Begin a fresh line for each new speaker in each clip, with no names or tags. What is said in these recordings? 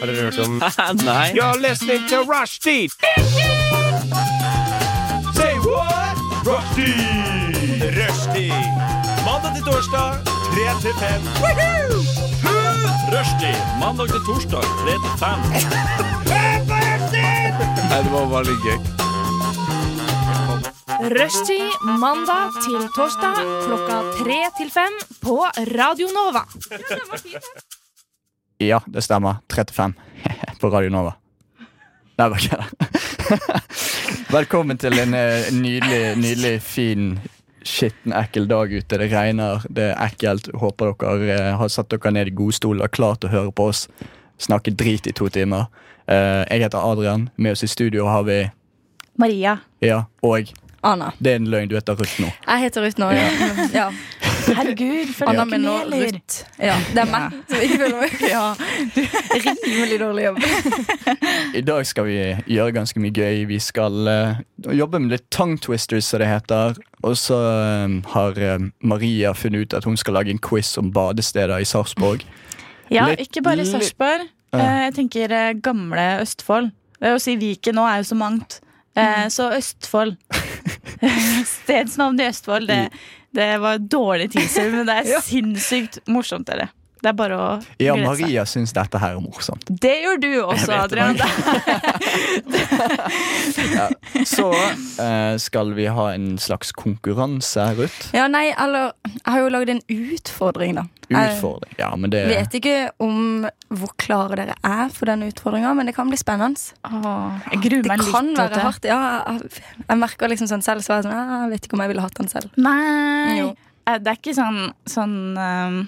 Har dere hørt om
Nei.
You're listening to Rushdie! Say what? Rushdie! Rushdie! Mandag til torsdag, 3 til 5. Rushdie! Mandag til torsdag, 3 til 5.
Nei, det var bare litt gøy.
Rushtid mandag til torsdag klokka tre til fem på Radio Nova.
Ja, det stemmer. 35 på Radio Nova. Nei, bare kødder. Velkommen til en eh, nydelig, nydelig, fin, skitten, ekkel dag ute. Det regner, det er ekkelt. Håper dere eh, har satt dere ned i godstolen og er klar til å høre på oss snakke drit i to timer. Eh, Jeg heter Adrian. Med oss i studio har vi
Maria.
Ja, og
Anna.
det er en løgn. Du heter Ruth nå.
Jeg heter Ruth nå. Ja. Ja.
Herregud,
Anna min og Ruth. Ja, det er meg. Så jeg føler meg ja. rimelig dårlig jobb.
I dag skal vi gjøre ganske mye gøy. Vi skal eh, jobbe med litt tongue twisters, som det heter. Og så eh, har eh, Maria funnet ut at hun skal lage en quiz om badesteder i Sarpsborg.
Ja,
Litt-
ikke bare
litt-
Sarpsborg.
Ja.
Eh, Jeg tenker eh, gamle Østfold. Eh, Å si Viken nå er jo så mangt.
Mm.
Eh, Så Østfold. Stedsnavn i Østfold, det, det var dårlig teaser, men det er sinnssykt morsomt, dere. Det er bare å
Ja,
glede seg.
Maria syns dette her er morsomt.
Det gjør du
Jeg
også,
vet det,
Adrian.
Så eh, skal vi ha en slags konkurranse, Ruth.
Ja, nei, eller Jeg har jo lagd en utfordring, da. Jeg
Utfordring. Ja, men det
Vet ikke om hvor klare dere er for den utfordringa, men det kan bli spennende.
Åh, jeg gruer
Det
meg
kan
litt.
være hardt. Ja, jeg, jeg merker liksom sånn selv, så er jeg sånn, «Ah, jeg vet ikke om jeg ville hatt den selv.
Nei.
Jo.
Eh, Det er ikke sånn, sånn eh,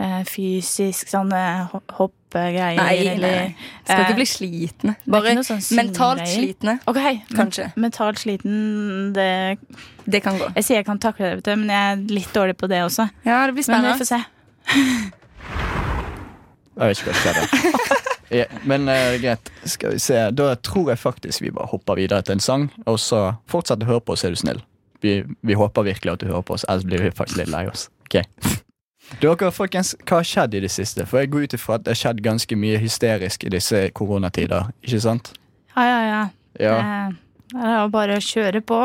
eh, fysisk sånn eh, ho- hoppegreier.
Nei, nei,
eller-
nei. Skal
Eh,
ikke bli slitne.
er
Bare
ikke noe sånn
mentalt
synggreier.
slitne.
Ok, men-
Kanskje.
Mentalt sliten, det
Det kan gå.
Jeg sier jeg kan takle det, vet du, men jeg er litt dårlig på det også.
Ja, det blir
Men vi
spennende.
får se.
Jeg vet ikke hva som skjedde. Ja, men eh, greit, skal vi se. Da tror jeg faktisk vi bare hopper videre til en sang. Og så fortsett å høre på oss, er du snill. Vi, vi håper virkelig at du hører på oss, ellers blir vi faktisk litt lei oss. Ok. Dere, folkens, hva har skjedd i det siste? For jeg går ut ifra at det har skjedd ganske mye hysterisk i disse koronatider, ikke sant?
Ja, ja, ja.
Ja.
Eh, Det er jo bare å kjøre på.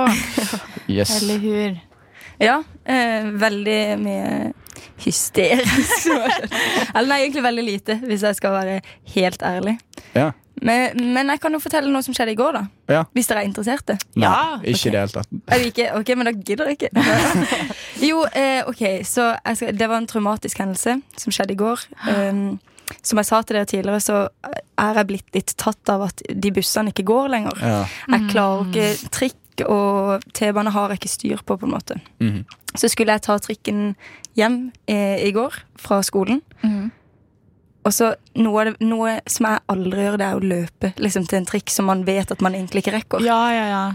Yes.
Eller hur?
Ja, eh, veldig mye hysterisk. som har skjedd. Eller nei, egentlig veldig lite, hvis jeg skal være helt ærlig.
Ja.
Men, men jeg kan jo fortelle noe som skjedde i går, da.
Ja.
Hvis dere er interesserte.
Nei,
Ja,
ikke i det hele tatt.
Er det ikke? Ok, men da gidder jeg ikke. Jo, eh, ok, så jeg skal, det var en traumatisk hendelse som skjedde i går. Um, som jeg sa til dere tidligere, så er jeg blitt litt tatt av at de bussene ikke går lenger.
Ja.
Jeg klarer ikke trikk og T-bane har jeg ikke styr på, på en måte.
Mhm.
Så skulle jeg ta trikken hjem eh, i går fra skolen. Og så noe, av det- noe som jeg aldri gjør, det er å løpe liksom, til en trikk som man vet at man egentlig ikke rekker.
Ja, ja, ja.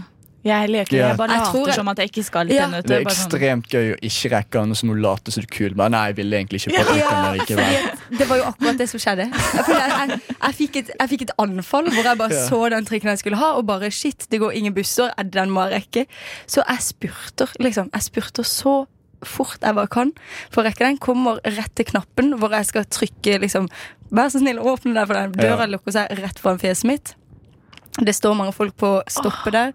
Jeg leker.
Ja.
Jeg bare
Jeg tror
later
jeg-
som at jeg ikke skal dit
Ja.
ennå. vet du.
Det er
Bare sånn-
ekstremt gøy å ikke rekke den, og så må du late som du er kul. Men nei, jeg ville egentlig ikke på trikken likevel.
Det var jo akkurat det som skjedde. Jeg, føler jeg, jeg, jeg, fikk, et, jeg fikk et anfall hvor jeg bare
Ja.
så den trikken jeg skulle ha, og bare shit, det går ingen busser, eh, den må jeg rekke. Så jeg spurter, liksom. Jeg spurter så fort jeg bare kan for å rekke den. Kommer rett til knappen hvor jeg skal trykke, liksom Vær så snill, åpne den, for den døra lukker seg rett foran fjeset mitt. Det står mange folk på stoppet der.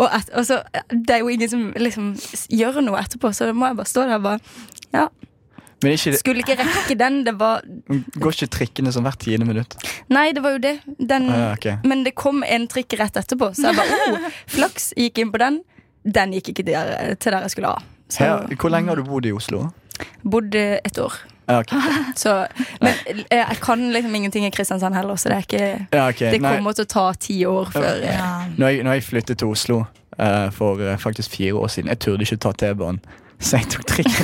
Og, et, og så, det er jo ingen som liksom s- gjør noe etterpå, så da må jeg bare stå der og bare Ja,
Men ikke,
skulle ikke rekke den. Det var
går ikke trikkene sånn hvert tiende minutt?
Nei, det var jo det. Den,
Ah, ok.
Men det kom en trikk rett etterpå, så jeg bare oh, flaks. Gikk inn på den. Den gikk ikke der, til der jeg skulle ha. Så
Her, hvor lenge har du bodd i Oslo?
bodde et år.
Ja, ok.
Så, men eh, jeg kan liksom ingenting i Kristiansand heller, så det er ikke
Ja, ok.
Det
Eh, Nei,
kommer til å ta ti år før eh,
Ja.
når, jeg, når jeg flyttet til Oslo eh, for eh, faktisk fire år siden, jeg turde ikke ta T-banen. Så jeg tok trikken.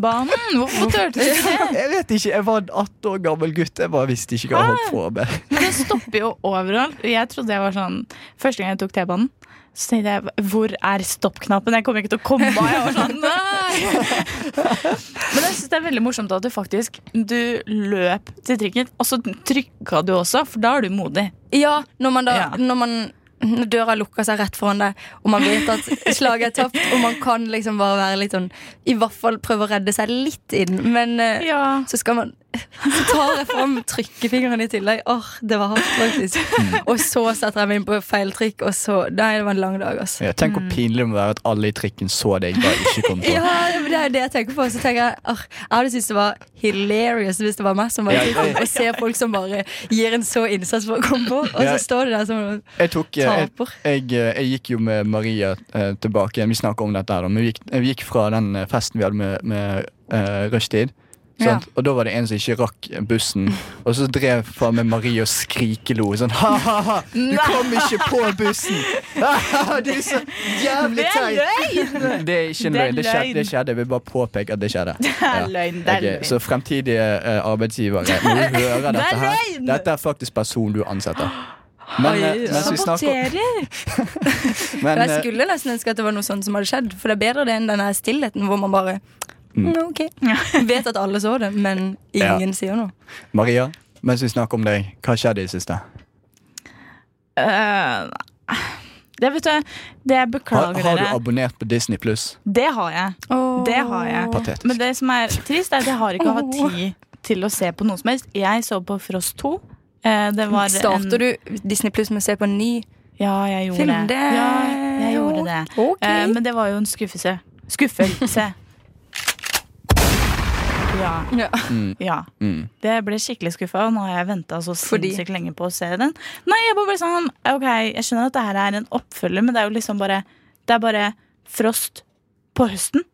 T-banen? Hvorfor turte du ikke?
Jeg vet ikke, jeg var en 18 år gammel gutt. Jeg bare visste ikke hva jeg holdt på med.
Men det stopper jo overalt. Jeg trodde jeg var sånn Første gang jeg tok T-banen, så tenkte jeg hvor er stoppknappen? Jeg kommer ikke til å komme av. Jeg var sånn, nei! Men jeg syns det er veldig morsomt at du faktisk Du løp til trikken, og så trykka du også, for da er du modig.
Ja, når man da
Ja.
Når man når døra lukker seg rett foran deg, og man vet at slaget er tapt, og man kan liksom bare være litt sånn I hvert fall prøve å redde seg litt inn, men eh,
Ja.
så skal man Så tar jeg fram trykkefingeren i tillegg. Åh, Det var hardt, faktisk.
Mm.
Og så setter jeg meg inn på feil trykk, og så Nei, det var en lang dag, altså.
Ja, tenk hvor pinlig det må være at alle i trikken så deg, bare ikke kom på.
Ja, men det er jo det jeg tenker på. Så tenker Jeg «Åh, jeg hadde syntes det var hilarious hvis det var meg som var
Ja, ja,
i
ja.
trikken, og ser folk som bare gir en så innsats for å komme på, og
Ja.
så står de der som noen
Jeg, tok, eh, jeg,
taper.
jeg, eh, jeg gikk jo med Maria eh, tilbake igjen. Vi snakket om dette her, da. Men vi gikk, eh, vi gikk fra den eh, festen vi hadde med, med eh, rushtid.
Ja.
sant? Og da var det en som ikke rakk bussen, og så drev faen meg Maria og skrikelo. Sånn ha-ha-ha, du kom ikke på bussen! du er så jævlig
Det er
teit! Det er ikke en løgn.
Det er
Det skjedde,
løgn.
det skjedde. Jeg vil bare påpeke at det skjedde.
er
Ja.
løgn, det er
Ok,
løgn.
Så fremtidige eh, arbeidsgivere, når du hører
Det
dette
er
her
løgn!
Dette er faktisk personen du ansetter. Men
Oi,
eh, mens vi snakker
Saboterer!
men,
Men
eh,
jeg skulle nesten ønske at det var noe sånt som hadde skjedd, for det er bedre det enn den her stillheten hvor man bare
Mm.
«Nå, ok. Vet at alle så det, men ingen sier noe.
Maria, mens vi snakker om deg, hva skjedde i det siste?
Eh, det vet du, det
Har,
beklager
har du
dere.
abonnert på Disney pluss?
Det har jeg. Det har jeg.
Patetisk.
Men det som er trist, er at jeg har ikke hatt tid til å se på noe som helst. Jeg så på Frost 2. Eh, Det var en-
Starter du Disney Pluss med å se på en ny
Ja, jeg gjorde
film?
det.
Det
Ja, jeg gjorde det.
Ok.
Eh, men det var jo en skuffelse. Skuffelse. Ja.
Ja.
ja.
Mm.
Det ble skikkelig skuffa, og nå har jeg venta så
Fordi?
sinnssykt lenge på å se den. Nei, jeg bare ble sånn Ok, jeg skjønner at det her er en oppfølger, men det er jo liksom bare Det er bare frost på høsten.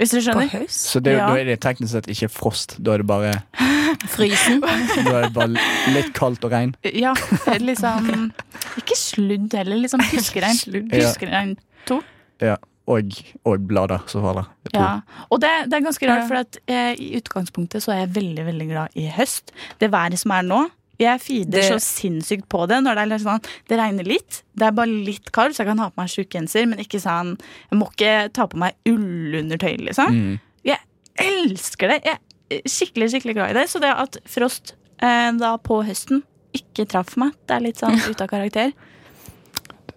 Hvis dere
På
skjønner?
høst?
Så det,
Ja.
da er det teknisk sett ikke frost. Da er det bare,
Frysen?
da er det bare litt kaldt og regn.
Ja, liksom Ikke sludd heller, liksom pyskeregn.
Ja.
Pyskeregn to.
Ja. Og, og blader som faller. Jeg tror.
Ja. Og det, det er ganske rart,
Ja.
for at, eh, i utgangspunktet så er jeg veldig veldig glad i høst. Det været som er nå. Jeg feeder
Det-
så sinnssykt på det. Når det, er litt sånn, det regner litt. Det er bare litt kaldt, så jeg kan ha på meg tjukk genser, men ikke sånn, jeg må ikke ta på meg ullundertøy, liksom.
Mm.
Jeg elsker det. Jeg er skikkelig, skikkelig glad i det. Så det at frost eh, da på høsten ikke traff meg, det er litt sånn ute av karakter.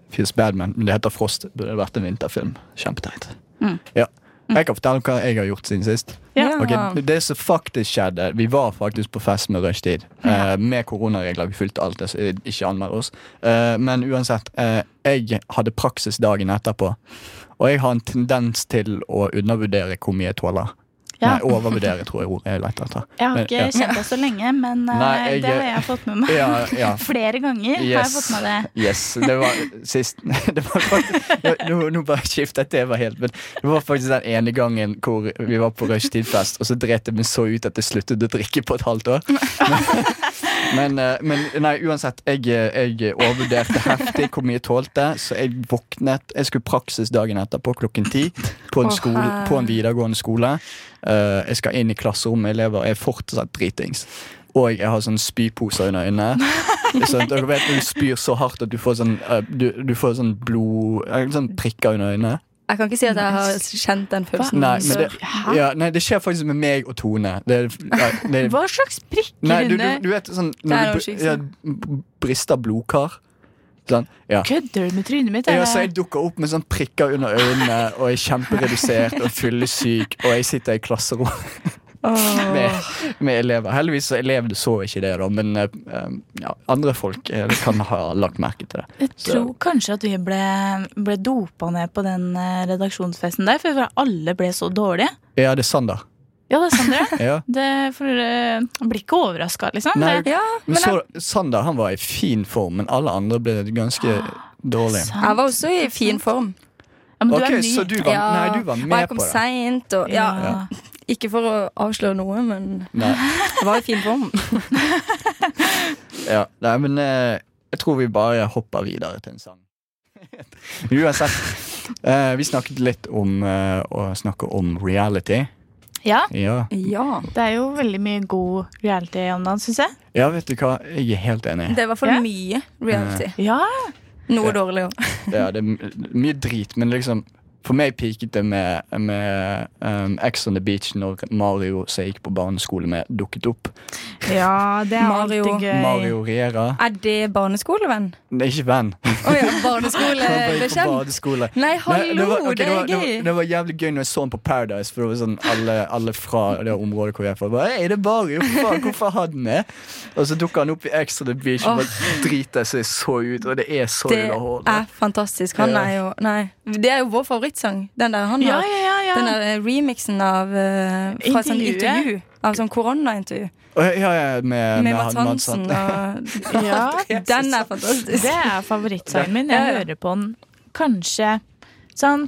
Feels bad, men men det heter Frost. Det burde vært en vinterfilm. Kjempeteit.
Mm.
Ja. Jeg kan fortelle hva jeg har gjort siden sist.
Ja.
Ok, det som faktisk skjedde Vi var faktisk på fest med rushtid. eh, med koronaregler. Vi fulgte alt. det, Så det ikke anmeld oss. Eh, men uansett, eh, jeg hadde praksis dagen etterpå. Og jeg har en tendens til å undervurdere hvor mye jeg tåler.
Ja.
Nei, overvurdere, tror jeg ordet jeg leter etter.
Jeg har
Men,
ikke kjent deg så lenge, men eh,
Nei, jeg-
det har jeg fått med meg.
Ja, ja.
Flere ganger har jeg fått med det.
Yes, det var sist det var faktisk, nå, nå bare skiftet jeg tema helt, men det var faktisk den ene gangen hvor vi var på rushtidfest, og så dret jeg meg så ut at jeg sluttet å drikke på et halvt år. Men, eh, men nei, uansett, jeg, eh, jeg overvurderte heftig hvor mye jeg tålte, så jeg våknet Jeg skulle praksis dagen etterpå klokken ti på en,
Å,
skole,
herre.
på en videregående skole. Eh, jeg skal inn i klasserommet, elever er fortsatt dritings. Og jeg har sånn spyposer under øynene. Sånn, dere vet når du spyr så hardt at du får sånn, eh, du, du får sånn blod eh, Sånn prikker under øynene.
Jeg kan ikke si at jeg har kjent den følelsen.
Nei, men det,
Hæ?
ja, nei, det skjer faktisk med meg og Tone. Det, nei, det,
Hva slags prikker
nei, du, du,
under
du vet sånn
Det er
når du
jo
br-
sjukt,
ja,
sant?
b- brister blodkar. Sånn. Ja.
Kødder du med trynet mitt?
Ja,
eller?
så jeg dukker opp med sånn prikker under øynene og er kjemperedusert og fyllesyk, og jeg sitter i klasserom med, med elever. Heldigvis så elevene så ikke det, da, men eh, ja, andre folk eh, kan ha lagt merke til det.
Jeg tror kanskje at vi ble, ble dopa ned på den eh, redaksjonsfesten der, for alle ble så dårlige.
Ja, det er Sander.
Ja, det er sant, dere.
Ja.
Det, for eh, jeg blir ikke overraska, liksom.
Nei,
det,
Ja,
Men
men jeg,
så, Sander han var i fin form, men alle andre ble ganske
Ah,
dårlige.
sant.
jeg var også i fin form.
ja, men du
Ok,
er ny.
så du var,
Ja,
nei, du var
Og jeg
med
kom
på det.
seint, og ja. Ikke for å avsløre noe, men
Nei,
jeg var i fin form.
ja. nei, men eh, jeg tror vi bare hopper videre til en sang. Uansett. eh, vi snakket litt om eh, å snakke om reality.
Ja,
Ja.
Ja.
det er jo veldig mye god reality om dagen, syns jeg.
ja, vet du hva? Jeg er helt enig.
Det er i hvert fall
Ja.
mye reality.
Ja,
Noe dårlig òg.
Ja, det er m- mye drit, men liksom For meg peaket det med, med um, X on the Beach når Mario, som jeg gikk på barneskole med, dukket opp.
Ja, det er
Mario.
alltid gøy.
Mario Riera.
Er det barneskolevenn?
Det er ikke venn.
Å ja,
Han gikk på
barneskolebekjent.
badeskole.
Eh, Nei,
Nei,
hallo,
var- ok,
det
var-
er
Det var,
gøy.
det var jævlig gøy når jeg så den på Paradise, for det var sånn alle, alle fra det området hvor jeg er fra. Bare, «Hei, det er Mario, faen, hvorfor har den det? Og så dukka han opp i Extra The Beach og bare driter seg så ut, og det er så
Det
underholdende.
er fantastisk. Han
Ja.
er jo Nei. Det er jo vår favorittsang. Den der han
Ja,
har.
ja, ja,
Den
ja.
der eh, remixen av eh, Fra sånn
Intervjuet.
intervju. Av sånn koronaintervju.
Og Ja, ja, med,
Med
med
Mads
han- Mads
Hansen
Hansen.
og
ja.
Den er fantastisk.
Det er favorittsangen min.
Ja,
Jeg
ja.
hører på den kanskje sånn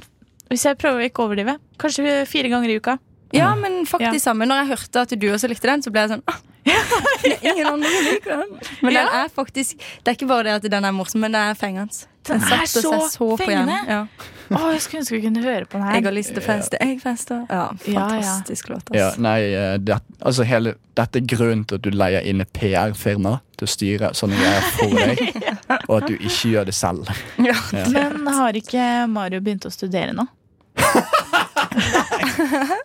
Hvis jeg prøver å ikke overdrive, kanskje fire ganger i uka.
Ja, men
Ja.
faktisk samme. Når jeg hørte at du også likte den, så ble jeg sånn ah, det er Ingen andre som liker den. Men den er faktisk Det er ikke bare det at den er morsom, men den er fengende.
Den er
setter
så
seg på hjernen.
fengende.
Ja.
Å, jeg skulle ønske vi kunne høre på den
Jeg
her.
har lyst til å feste, jeg fester. Ja,
Ja, ja.
fantastisk låt,
Ja,
ass.
nei, eh, det, altså hele, dette er grunnen til at du leier inn et PR-firma til å styre sånne greier for deg, og at du ikke gjør det selv.
Ja.
Men har ikke Mario begynt å studere nå?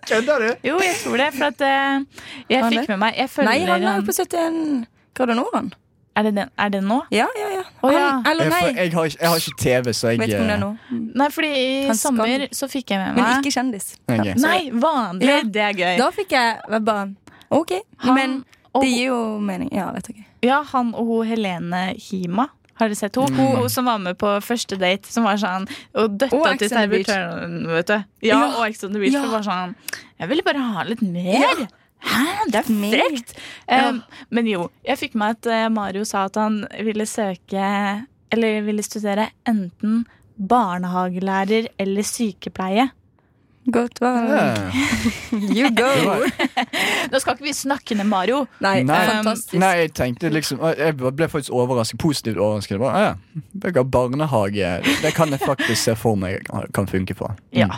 Kødder du?
Jo, jeg tror det. For at eh, jeg
Han
fikk med meg Jeg
Nei, han
følger
er jo
han
på 71 grader nord, han.
Er det den, er det nå?
Ja, ja, ja.
Å, ja.
Han, eller
Jeg, for,
nei.
jeg, har, ikke- jeg har ikke TV, så jeg
Vet ikke om det er
eh,
nå.
Nei, fordi i
Han skal-
sommer så fikk jeg med
Men
meg
ikke kjendis.
Ok.
Nei, vanlig!
Ja.
Det er gøy.
Da fikk jeg bare OK.
Han
Men
og-
det gir jo mening. Ja, vet ikke.
Ja, han og hun Helene Hima. Har dere sett
Mm.
henne? Hun som var med på første date. Som var sånn Og døtta
Og
til
Ex on the Beach.
servitøren, vet du. Ja,
Ja.
og Ex on the Beach.
Ja.
For var sånn Jeg ville bare ha litt mer. Hæ, det er
Mer.
frekt! Um, men jo, jeg fikk med at eh, Mario sa at han ville søke Eller ville studere enten barnehagelærer eller sykepleie.
Godt valg.
Ja.
You
Det
go.
var-
Nå skal ikke vi snakke ned Mario.
Nei,
Nei.
fantastisk.
Nei, jeg tenkte liksom Jeg ble faktisk overrasket, positivt overrasket. Bare, ah, ja. Begge har barnehage. Det kan jeg faktisk se for meg kan funke på.
Ja.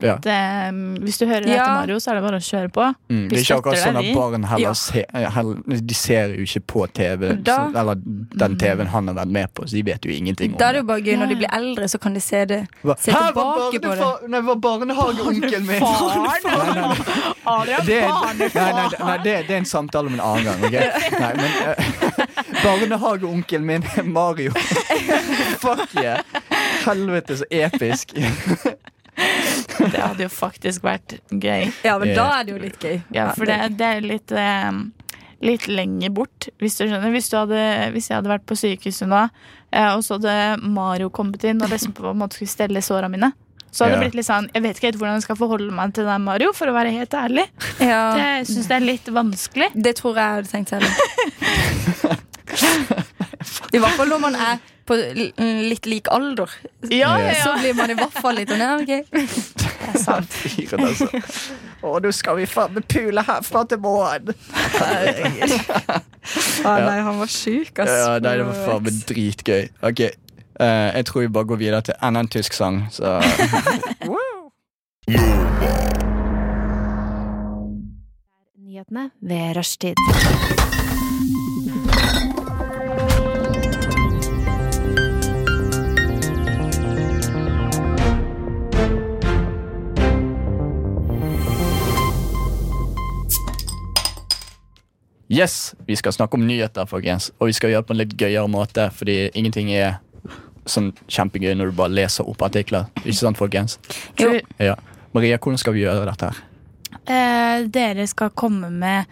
Ja.
Det, um, hvis du hører
Ja.
etter Mario, så er det bare å kjøre på.
Mm. Det er ikke akkurat
støtter
sånn at
deg, vi.
barn heller
Ja.
ser, heller, De ser jo ikke på TV,
Da- Mm.
så, eller den TV-en han har vært med på, så de vet jo ingenting om
Da er
det.
det jo bare gøy når de blir eldre, så kan de se det.
Hva-
Se
Her var
tilbake på det.
barnefar- Nei, var barnehageonkelen min!
Barn! Adrian,
Det er, nei,
barnefar!
nei, nei det, det er en samtale om en annen gang. ok? Nei, men eh, Barnehageonkelen min, Mario. Fuck yeah! Helvete, så episk.
Det hadde jo faktisk vært gøy.
Ja, men
Eh,
da er det jo litt gøy.
Ja, for det, det er litt eh, Litt lenger bort, hvis du skjønner. Hvis, du hadde, hvis jeg hadde vært på sykehuset nå, eh, og så hadde Mario kommet inn og liksom på en måte skulle stelle såra mine, så hadde
Ja.
det blitt litt sånn Jeg vet ikke helt hvordan jeg skal forholde meg til deg, Mario, for å være helt ærlig.
Ja,
Jeg syns det er litt vanskelig.
det tror jeg jeg hadde tenkt selv. I hvert fall når man er på l- litt lik alder.
Ja, ja,
Så
ja.
blir man i hvert fall litt sånn ja, ok.
Det er sant.
fyren, altså. Og nå skal vi faen meg pule herfra til morgen.
nei, han var sjuk,
Ja, nei, det var faen meg dritgøy. Ok, eh, jeg tror vi bare går videre til enda en tysk sang, så
Nyhetene ved rushtid.
Yes, vi skal snakke om nyheter, folkens. Og vi skal gjøre det på en litt gøyere måte, fordi ingenting er sånn kjempegøy når du bare leser opp artikler. Ikke sant, folkens?
Jo.
Ja. Maria, hvordan skal vi gjøre dette her?
Eh, dere skal komme med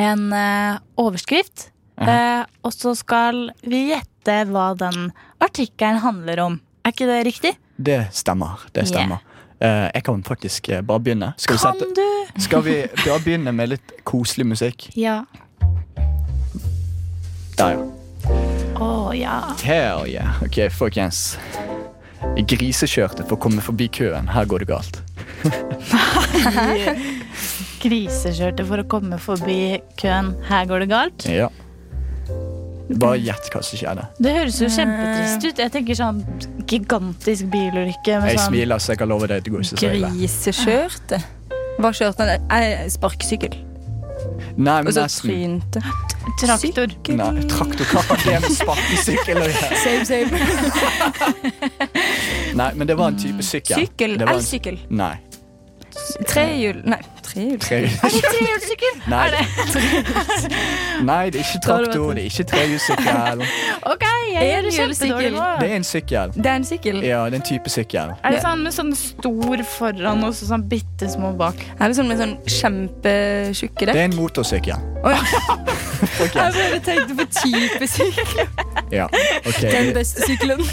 en eh, overskrift.
Mhm.
eh, og så skal vi gjette hva den artikkelen handler om. Er ikke det riktig?
Det stemmer. Det stemmer. Eh, jeg kan faktisk eh, bare begynne. Skal vi,
Kan
sette,
du?
skal vi bare begynne med litt koselig musikk?
Ja.
Der, ja.
Å ja.
Hell yeah. Ok, folkens. Grisekjørte for å komme forbi køen. Her går det galt.
Grisekjørte for å komme forbi køen. Her går det galt.
Ja. Bare gjett hva som skjedde.
Det høres
Eh.
jo kjempetrist ut. Jeg tenker sånn gigantisk bilulykke med
Jeg
sånn
smiler, så jeg kan love deg at det går ikke så ille.
Grisekjørte. Hva kjørte han? Eh, Sparkesykkel.
Nei, men
Og så
nesten.
trynte.
Traktor.
Nei, traktor, hva har det med sparkesykkel å gjøre?
Same, same.
Nei, men det var en type sykkel.
Sykkel.
Det var en-
Elsykkel.
Nei.
Trehjul Nei, trehjul.
Trehjulssykkel? Nei. Nei, det er ikke traktor, det er ikke trehjulssykkel.
OK, jeg gjør det
Enhjulssykkel.
kjempedårlig nå.
Det er en sykkel.
Det er en sykkel.
Ja, det er en type sykkel.
Er det sånn med sånn stor foran og så sånn bitte små bak?
Er det sånn med sånn kjempetjukke
Det
dekk?
er en motorsykkel.
Jeg bare tenkte på type sykkel.
Ja, ok.
Den beste sykkelen.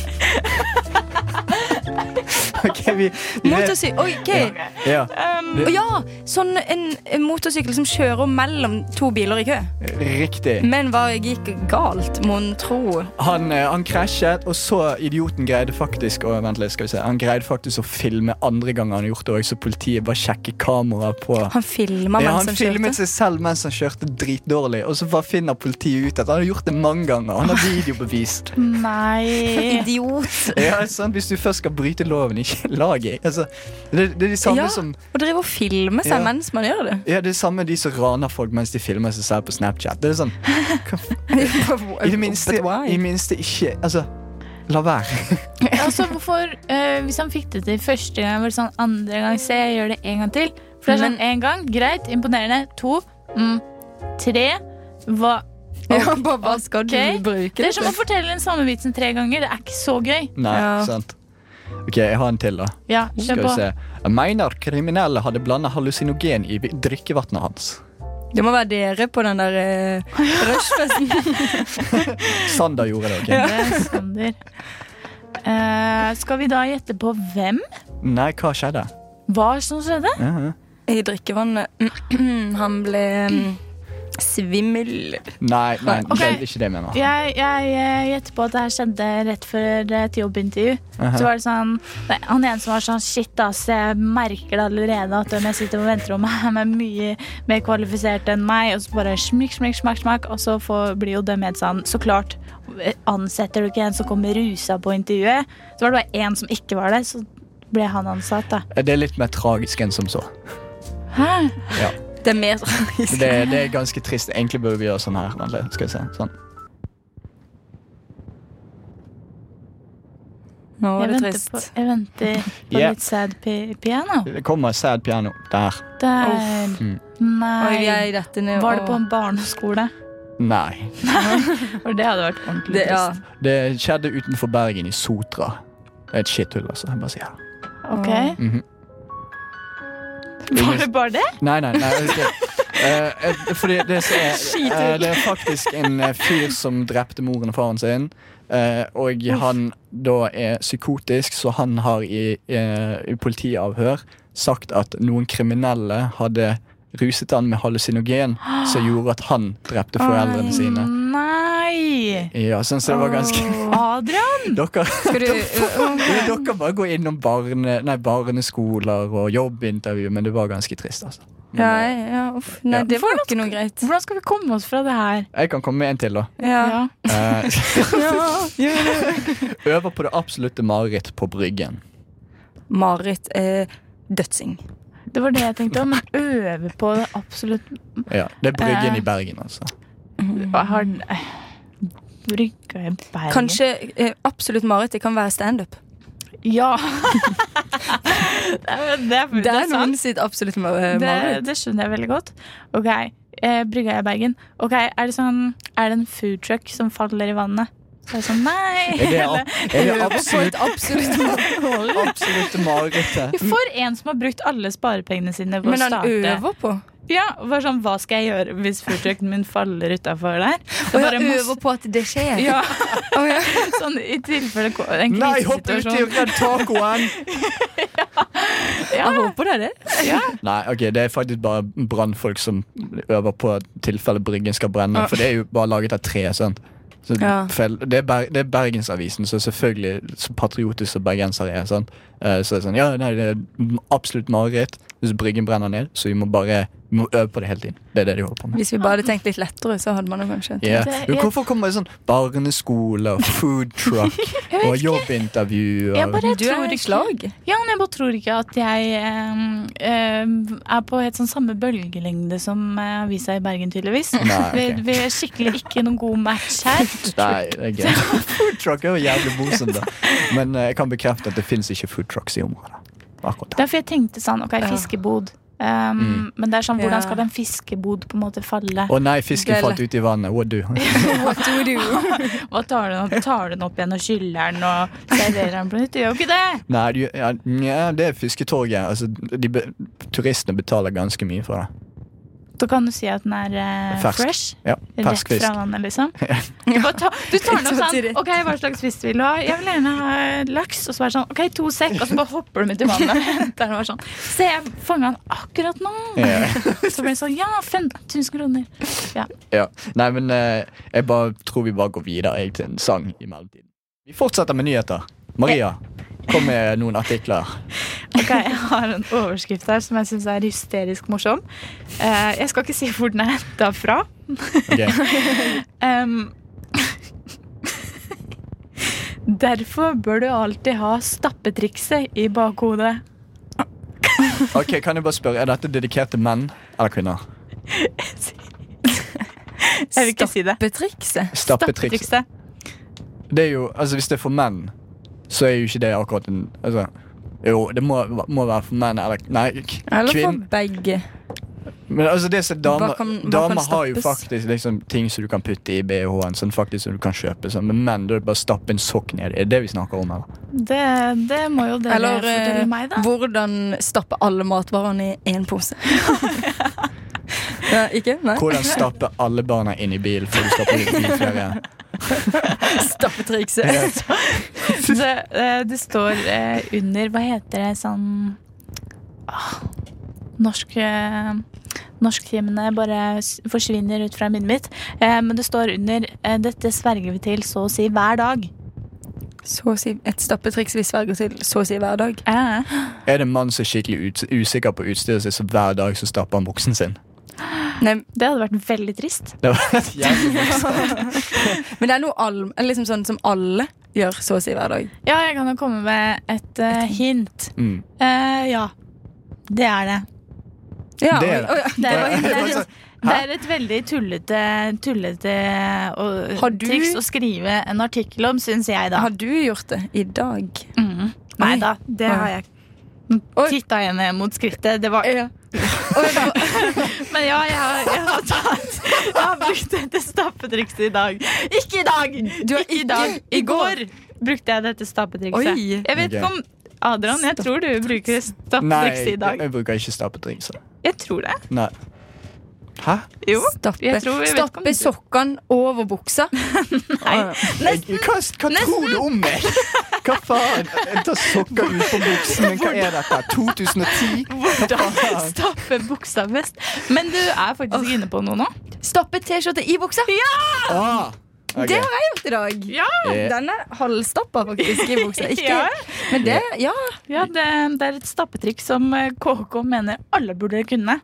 Ok, vi, vi vet.
Motorsykkel. Oi, OK.
Ja,
Å Ja, sånn en, en motorsykkel som kjører mellom to biler i kø.
riktig.
Men hva gikk galt, mon tro?
Han, eh, han krasjet, og så idioten greide faktisk å, vent litt, skal vi se, han greide faktisk å filme andre ganger han gjort det også, så politiet bare sjekker kamera på
Han filma
ja,
mens
han
han kjørte.
filmet seg selv mens han kjørte dritdårlig, og så bare finner politiet ut at han har gjort det mange ganger. Han har videobevist.
Nei.
Idiot.
Ja, sant? Hvis du først skal bryte loven, ikke lag i. Altså, det, det er de samme
Ja.
som
Å drive og filme seg
Ja.
mens man gjør det.
ja, det er samme de som raner folk mens de filmer seg selv på Snapchat. Det er sånn, I det minste, i det minste ikke Altså, la være.
Altså, hvorfor, eh, hvis han fikk det til første gang, var det sånn andre gang, se, jeg gjør det en gang til. For det er sånn en gang, greit, imponerende. To, mm, tre, hva?
Ja, bare, hva skal
Ok.
du bruke
Det er som å
til?
fortelle den samme vitsen tre ganger. Det er ikke så gøy.
Nei,
Ja.
sant. OK, jeg har en til, da.
Ja,
Oh, Skal
kjør
vi
på.
se. Jeg mener kriminelle hadde blanda hallusinogen i vi- drikkevannet hans.
Det må være dere på den der uh, rushfesten.
Sander gjorde det. ok?
Det er Sander. Eh, skal vi da gjette på hvem?
Nei, hva skjedde?
Hva som skjedde?
Ja, ja.
I drikkevannet. Han ble mm, svimmel.
Nei, nei,
Ok.
det er ikke det jeg mener.
Jeg, jeg eh, gjetter på at det her skjedde rett før eh, et jobbintervju. Så var det sånn nei, Han ene som var sånn Shit, ass, jeg merker det allerede at de jeg sitter på venterommet, er mye mer kvalifisert enn meg. Og så bare smikk, smikk, smakk, smakk. Og så får, blir jo dømmet sånn Så klart ansetter du ikke en som kommer rusa på intervjuet. Så var det bare én som ikke var det, så ble han ansatt, da.
Det er litt mer tragisk enn som så.
Hæ?
Det er mer tragisk.
Det, det er ganske trist. Egentlig burde vi gjøre sånn her. Vent litt, skal vi se. Sånn.
Nå
Jeg
var det
venter på,
trist.
jeg venter på
Ja.
litt sad pi piano.
Det kommer sad piano der.
Der.
Mm.
Oi,
Nei.
jeg, dette ned,
Var det
og-
på en barneskole?
Nei.
For det hadde vært ordentlig
det, ja.
Det skjedde utenfor Bergen, i Sotra. Det er Et skitthull, altså. Jeg bare sier det.
Ok.
Mhm.
Var det bare det?
Nei, nei, nei. Okay. Eh, eh, fordi det, som er, eh, det er faktisk en eh, fyr som drepte moren og faren sin. eh, og han da er psykotisk, så han har i, eh, i politiavhør sagt at noen kriminelle hadde ruset han med hallusinogen som gjorde at han drepte foreldrene sine.
Nei!
Ja, sånn så det var ganske
Adrian!
Dere
Skal du
Men Dere bare går innom barne, nei, barneskoler og jobbintervju, men det var ganske trist, altså. Men,
Ja,
eh,
ja, uff. Nei,
Ja.
det var ikke noe greit.
Hvordan skal vi komme oss fra det her?
Jeg kan komme med en til, da.
Ja.
Ja.
Eh,
Ja.
Øver på det absolutte mareritt på Bryggen.
Marit eh, dødsing.
Det var det jeg tenkte om. Men øve på det absolutt
Ja, det er Bryggen
Eh.
i Bergen, altså.
Hva har den- eh, Brygga i Bergen
Kanskje eh, absolutt Marit. Det kan være standup.
Ja! det er, det er,
Det er
sant.
noen sitt absolutt ma- eh,
Det,
Marit.
det skjønner jeg veldig godt. Ok, eh, Brygga i Bergen. Ok, Er det sånn Er det en foodtruck som faller i vannet? Så er det sånn Nei!
Er det, ab- er det
På
absolutt,
et absolutt Marit.
absolutte marerittet?
For en som har brukt alle sparepengene sine på å
Men han
starte
øver på.
Ja, bare sånn, Hva skal jeg gjøre hvis foodtrucken min faller utafor der?
Og
Bare
jeg
masse-
øver på at det skjer.
ja,
Å, ja.
sånn I tilfelle ko- en
Nei, hopp uti
krisesituasjon.
og redd tacoen!
Jeg håper det er det.
Nei, ok, det er faktisk bare brannfolk som øver på at tilfelle Bryggen skal brenne, for det er jo bare laget av tre, sant? Så
Ja.
fel- det, er Ber det er Bergensavisen, så selvfølgelig så patriotisk som bergensere er. Sant? Eh, Så er det sånn, ja, nei, det er m- absolutt mareritt hvis Bryggen brenner ned, så vi må bare må øve på det hele tiden. Det er det de holder på med.
Hvis vi bare hadde tenkt litt lettere, så hadde man jo kanskje
Ja.
Det-
Men hvorfor kommer det sånn barneskole og food truck og jobbintervju?
Jeg
og-
bare
Du er
tror
i
ikke
slag.
Ja, men jeg bare tror ikke at jeg ehm, ehm, er på helt sånn samme bølgelengde som eh, avisa i Bergen, tydeligvis.
Nei, ok.
vi, vi er skikkelig ikke noen god match her.
Nei, det er gøy. Food truck er jo jævlig morsomt, da. Men eh, jeg kan bekrefte at det fins ikke food trucks i området. Akkurat der.
Derfor jeg tenkte sånn, ok, fiskebod. Ehm,
Mm.
Men det er sånn,
Ja.
hvordan skal en fiskebod på en måte falle?
Å nei, fisken
Det er
falt ut i vannet. What do?
What do we do?
Hva tar du den, tar du den opp igjen og kyller den og serverer den på nytt? Du gjør jo ikke det!
Nei, du, ja, nja, det er fisketorget. Altså, de be, turistene betaler ganske mye for det.
Da kan du si at den er eh,
Fersk.
fresh.
Ja,
Rett
Fersk fisk.
fra vannet, liksom. Du, bare tar- du tar den opp
Eksotisk.
sånn OK, hva slags fisk vil du ha? Jeg vil gjerne ha laks. Og så bare sånn OK, to sekk. Og så bare hopper du midt i vannet og henter den. og Bare sånn. Se, jeg fanga den akkurat nå.
Ja.
Så blir det sånn Ja, 15 000 kroner.
Ja. Nei, men eh, jeg bare tror vi bare går videre jeg, til en sang i mellomtiden. Vi fortsetter med nyheter. Maria, kom med noen artikler.
Ok, Jeg har en overskrift her som jeg syns er hysterisk morsom. Eh, jeg skal ikke si hvor den er henta fra.
Ok.
Em, Derfor bør du alltid ha stappetrikset i bakhodet.
ok, Kan jeg bare spørre, Er dette dedikert til menn eller kvinner?
Jeg vil ikke si det.
Stoppetrikset.
Stappetriks. Det er jo, altså Hvis det er for menn, så er jo ikke det akkurat en altså, Jo, det må, må være for menn eller Nei, k-
Eller for
kvinn.
begge.
Men altså det som damer
Hva kan- hva kan
Damer har jo
stappes?
faktisk liksom, ting som du kan putte i BH-en, sånn faktisk som du kan kjøpe. Sånn. Men menn, da er det bare å stappe en sokk ned. Er det det vi snakker om? Eller?
Det, det må jo dere
Eller eh,
fortelle meg, da.
hvordan stappe alle matvarene i én pose. Nei, ikke? Nei.
Hvordan stappe alle barna inn i bilen før du stapper inn i flere?
Stappetrikset.
Det, eh, det står eh, under Hva heter det sånn Åh, Norsk eh, Norsktimene bare s- forsvinner ut fra minnet mitt. Eh, men det står under eh, 'Dette sverger vi til så å si hver dag'.
Så å si et stappetriks vi sverger til så å si hver dag.
Er det en mann som er skikkelig ut, usikker på utstyret sitt, så hver dag så stapper han buksen sin?
Nei,
Det hadde vært veldig trist.
Det var et jævlig morsomt.
men det er noe all, eller liksom sånn som alle gjør så å si hver dag.
Ja, jeg kan jo komme med et eh, hint.
Mm.
Eh, ja. Det er det.
Ja,
Det er
oi,
det.
oi,
Det er,
Jeg
det
bare
er,
sånn,
et, det er et veldig tullete, tullete og,
Har du-
triks å skrive en artikkel om, syns jeg, da.
Har du gjort det i dag?
Mhm. Nei da, det
Oi.
har jeg
Oi. Eh.
Titta jeg ned mot skrittet. Det var
Ja. Oi, det var-
Men ja, jeg har, jeg har, tatt, jeg har brukt dette stappetrikset i dag. Ikke i dag!
Du har
ikke i
ikke-
dag. I
i går.
går brukte jeg dette stappetrikset.
Oi.
Jeg
Ok.
vet ikke om Adrian, jeg tror du bruker
Nei,
stappetrikset i dag.
jeg bruker ikke stappetrikser.
Jeg tror det.
Nei. Hæ?
Jo.
Stappe,
Jeg tror jeg vet ikke om
stappe
du-
sokkene over buksa.
Jeg, hva hva tror du om meg? Hva faen? Jeg tar sokker ut på buksen, men hva er dette? 2010?
Stappe buksa best. Men du er faktisk inne på noe nå.
Stappe T-skjorte i buksa.
Ah, ok.
Det har jeg gjort i dag.
Ja.
Eh,
Denne halvstappa faktisk i buksa. Ikke,
Ja.
Men det, ja.
Ja, det, det er et stappetrikk som eh, KK mener alle burde kunne.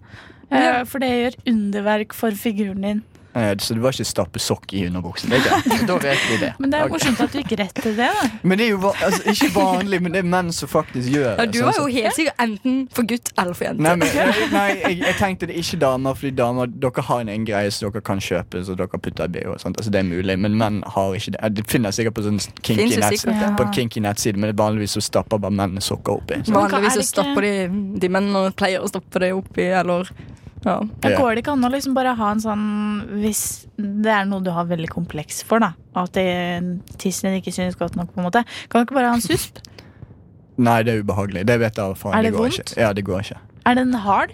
Eh,
Ja.
For det gjør underverk for figuren din.
eh, Så du var ikke stappe sokk i underbuksen? Det er greit. Da vet vi det.
Men det er
Ok.
morsomt at du gikk rett til det. da
Men det er jo va- altså, ikke vanlig, men det er menn som faktisk gjør det.
ja du
sånn
var
som-
jo helt sikkert enten for gutt eller for jente.
Nei, men, nei, nei jeg, jeg tenkte det ikke damer, fordi damer dere har en, en greie som dere kan kjøpe. Så dere putter i BH og sånt, altså Det er mulig, men menn har ikke det. Det finnes sikkert på sånn
Finnes
kinky,
jo
nett,
sikkert,
ja.
på en kinky nettside, men vanligvis så stapper bare mennene sokker oppi. Så.
Men hva er
Vanligvis så
det ikke-
stapper de, de mennene pleier å stappe det oppi, eller ja.
Da
Ja.
Går det ikke an å liksom bare ha en sånn Hvis det er noe du har veldig kompleks for, da at det- tissen din ikke synes godt nok, på en måte kan du ikke bare ha en susp?
Nei, det er ubehagelig. Det vet jeg faen.
Er det
går
vondt?
Ikke. Ja, det går ikke.
Er den hard?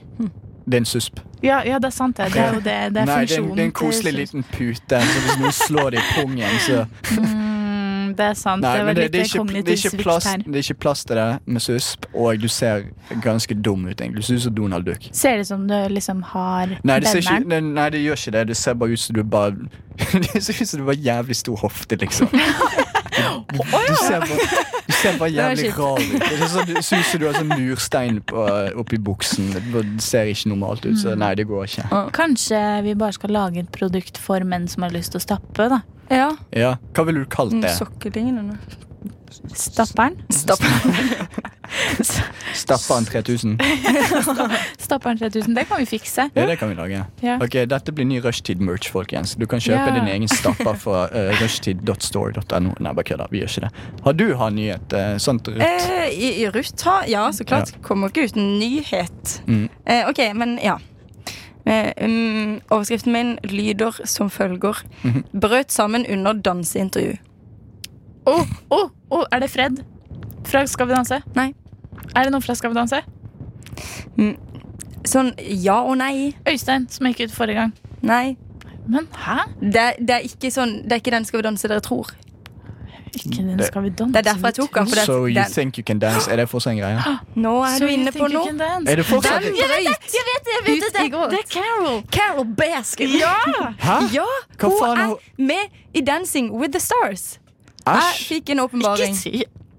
Det er en susp.
Ja, ja, det er sant, det. Det er jo det. Det
Nei,
er
det er, en,
funksjonen.
det er en
til
koselig
susp.
liten pute. Så hvis noen slår det i pungen, så
Mm, Det er sant.
Nei,
det
men
er vel
det,
litt
det, er ikke, det,
kognitiv
er ikke
svikt
plass,
her.
det er ikke plass til det med susp, og du ser ganske dum ut, egentlig. Du ser ut som Donald Duck.
Ser det som du liksom har
Nei det, ser ikke,
benderen?
nei, nei, det gjør ikke det. Det ser bare ut som du bare Det ser ut som du har jævlig stor hofte, liksom. Du ser bare, du ser bare
var
jævlig
kjipt.
rar ut. Det er sånn, du synes du har sånn murstein på, oppi buksen. Det ser ikke normalt ut,
Mm.
så nei, det går ikke.
Kanskje vi bare skal lage et produkt for menn som har lyst til å stappe. da
Ja.
Ja, Hva ville du kalt
Mm,
det?
Sokketingene.
Stapperen.
Stopp.
Stapperen 3000?
Stapperen 3000. Det kan vi fikse.
Ja, det kan vi lage.
Ja.
Ok, Dette blir ny rushtid-merch, folkens. Du kan kjøpe
Ja.
din egen stapper fra uh, rushtid.store.no. Nei, bare kødda. Vi gjør ikke det. Har du hatt nyhet? eh, sånt rett?
Eh, i, I Ruth har Ja, så klart. Kommer ikke uten nyhet.
Mm.
Eh, ok, men ja. Eh, mm, overskriften min lyder som følger.
Mhm.
Brøt sammen under danseintervju.
Å,
Oh.
å, å, er det Fred fra Skal vi danse?
Nei.
Er det noen fra Skal vi danse?
Sånn ja og nei.
Øystein, som gikk ut forrige gang.
Nei.
Men hæ?
Det, det, er, ikke sånn, det er ikke den Skal vi danse dere tror.
Ikke den
Det-
Skal vi danse?
Det er derfor jeg tok den. For det,
So you
den.
think you can dance? Er det fortsatt en greie?
Nå er
Så
du inne
you
på
think you
noe.
can dance?
Er det fortsatt
Den brøt ut i går.
Det er Carol.
Carol Baskin. Ja!
Hæ? Hva
hun
faen
er
er-
med i Dancing with the Stars. Jeg
Æsj!
fikk en
Ikke
åpenbaring.
si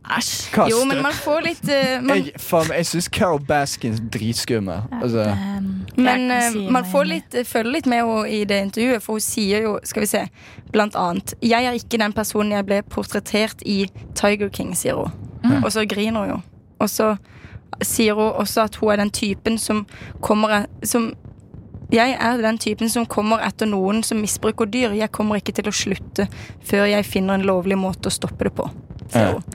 æsj.
Kast
Jo, men
det.
man får litt eh, man,
Jeg, faen, jeg syns Carol Baskin er dritskummel. Altså,
Um,
Men
jeg kan
eh,
si
man
meg
får
enig.
litt, følger litt med henne i det intervjuet, for hun sier jo, skal vi se, blant annet Jeg er ikke den personen jeg ble portrettert i Tiger King, sier hun.
Mm.
Og så griner hun jo. Og så sier hun også at hun er den typen som kommer e- som, Jeg er den typen som kommer etter noen som misbruker dyr. Jeg kommer ikke til å slutte før jeg finner en lovlig måte å stoppe det på.
Ja.
Sier hun.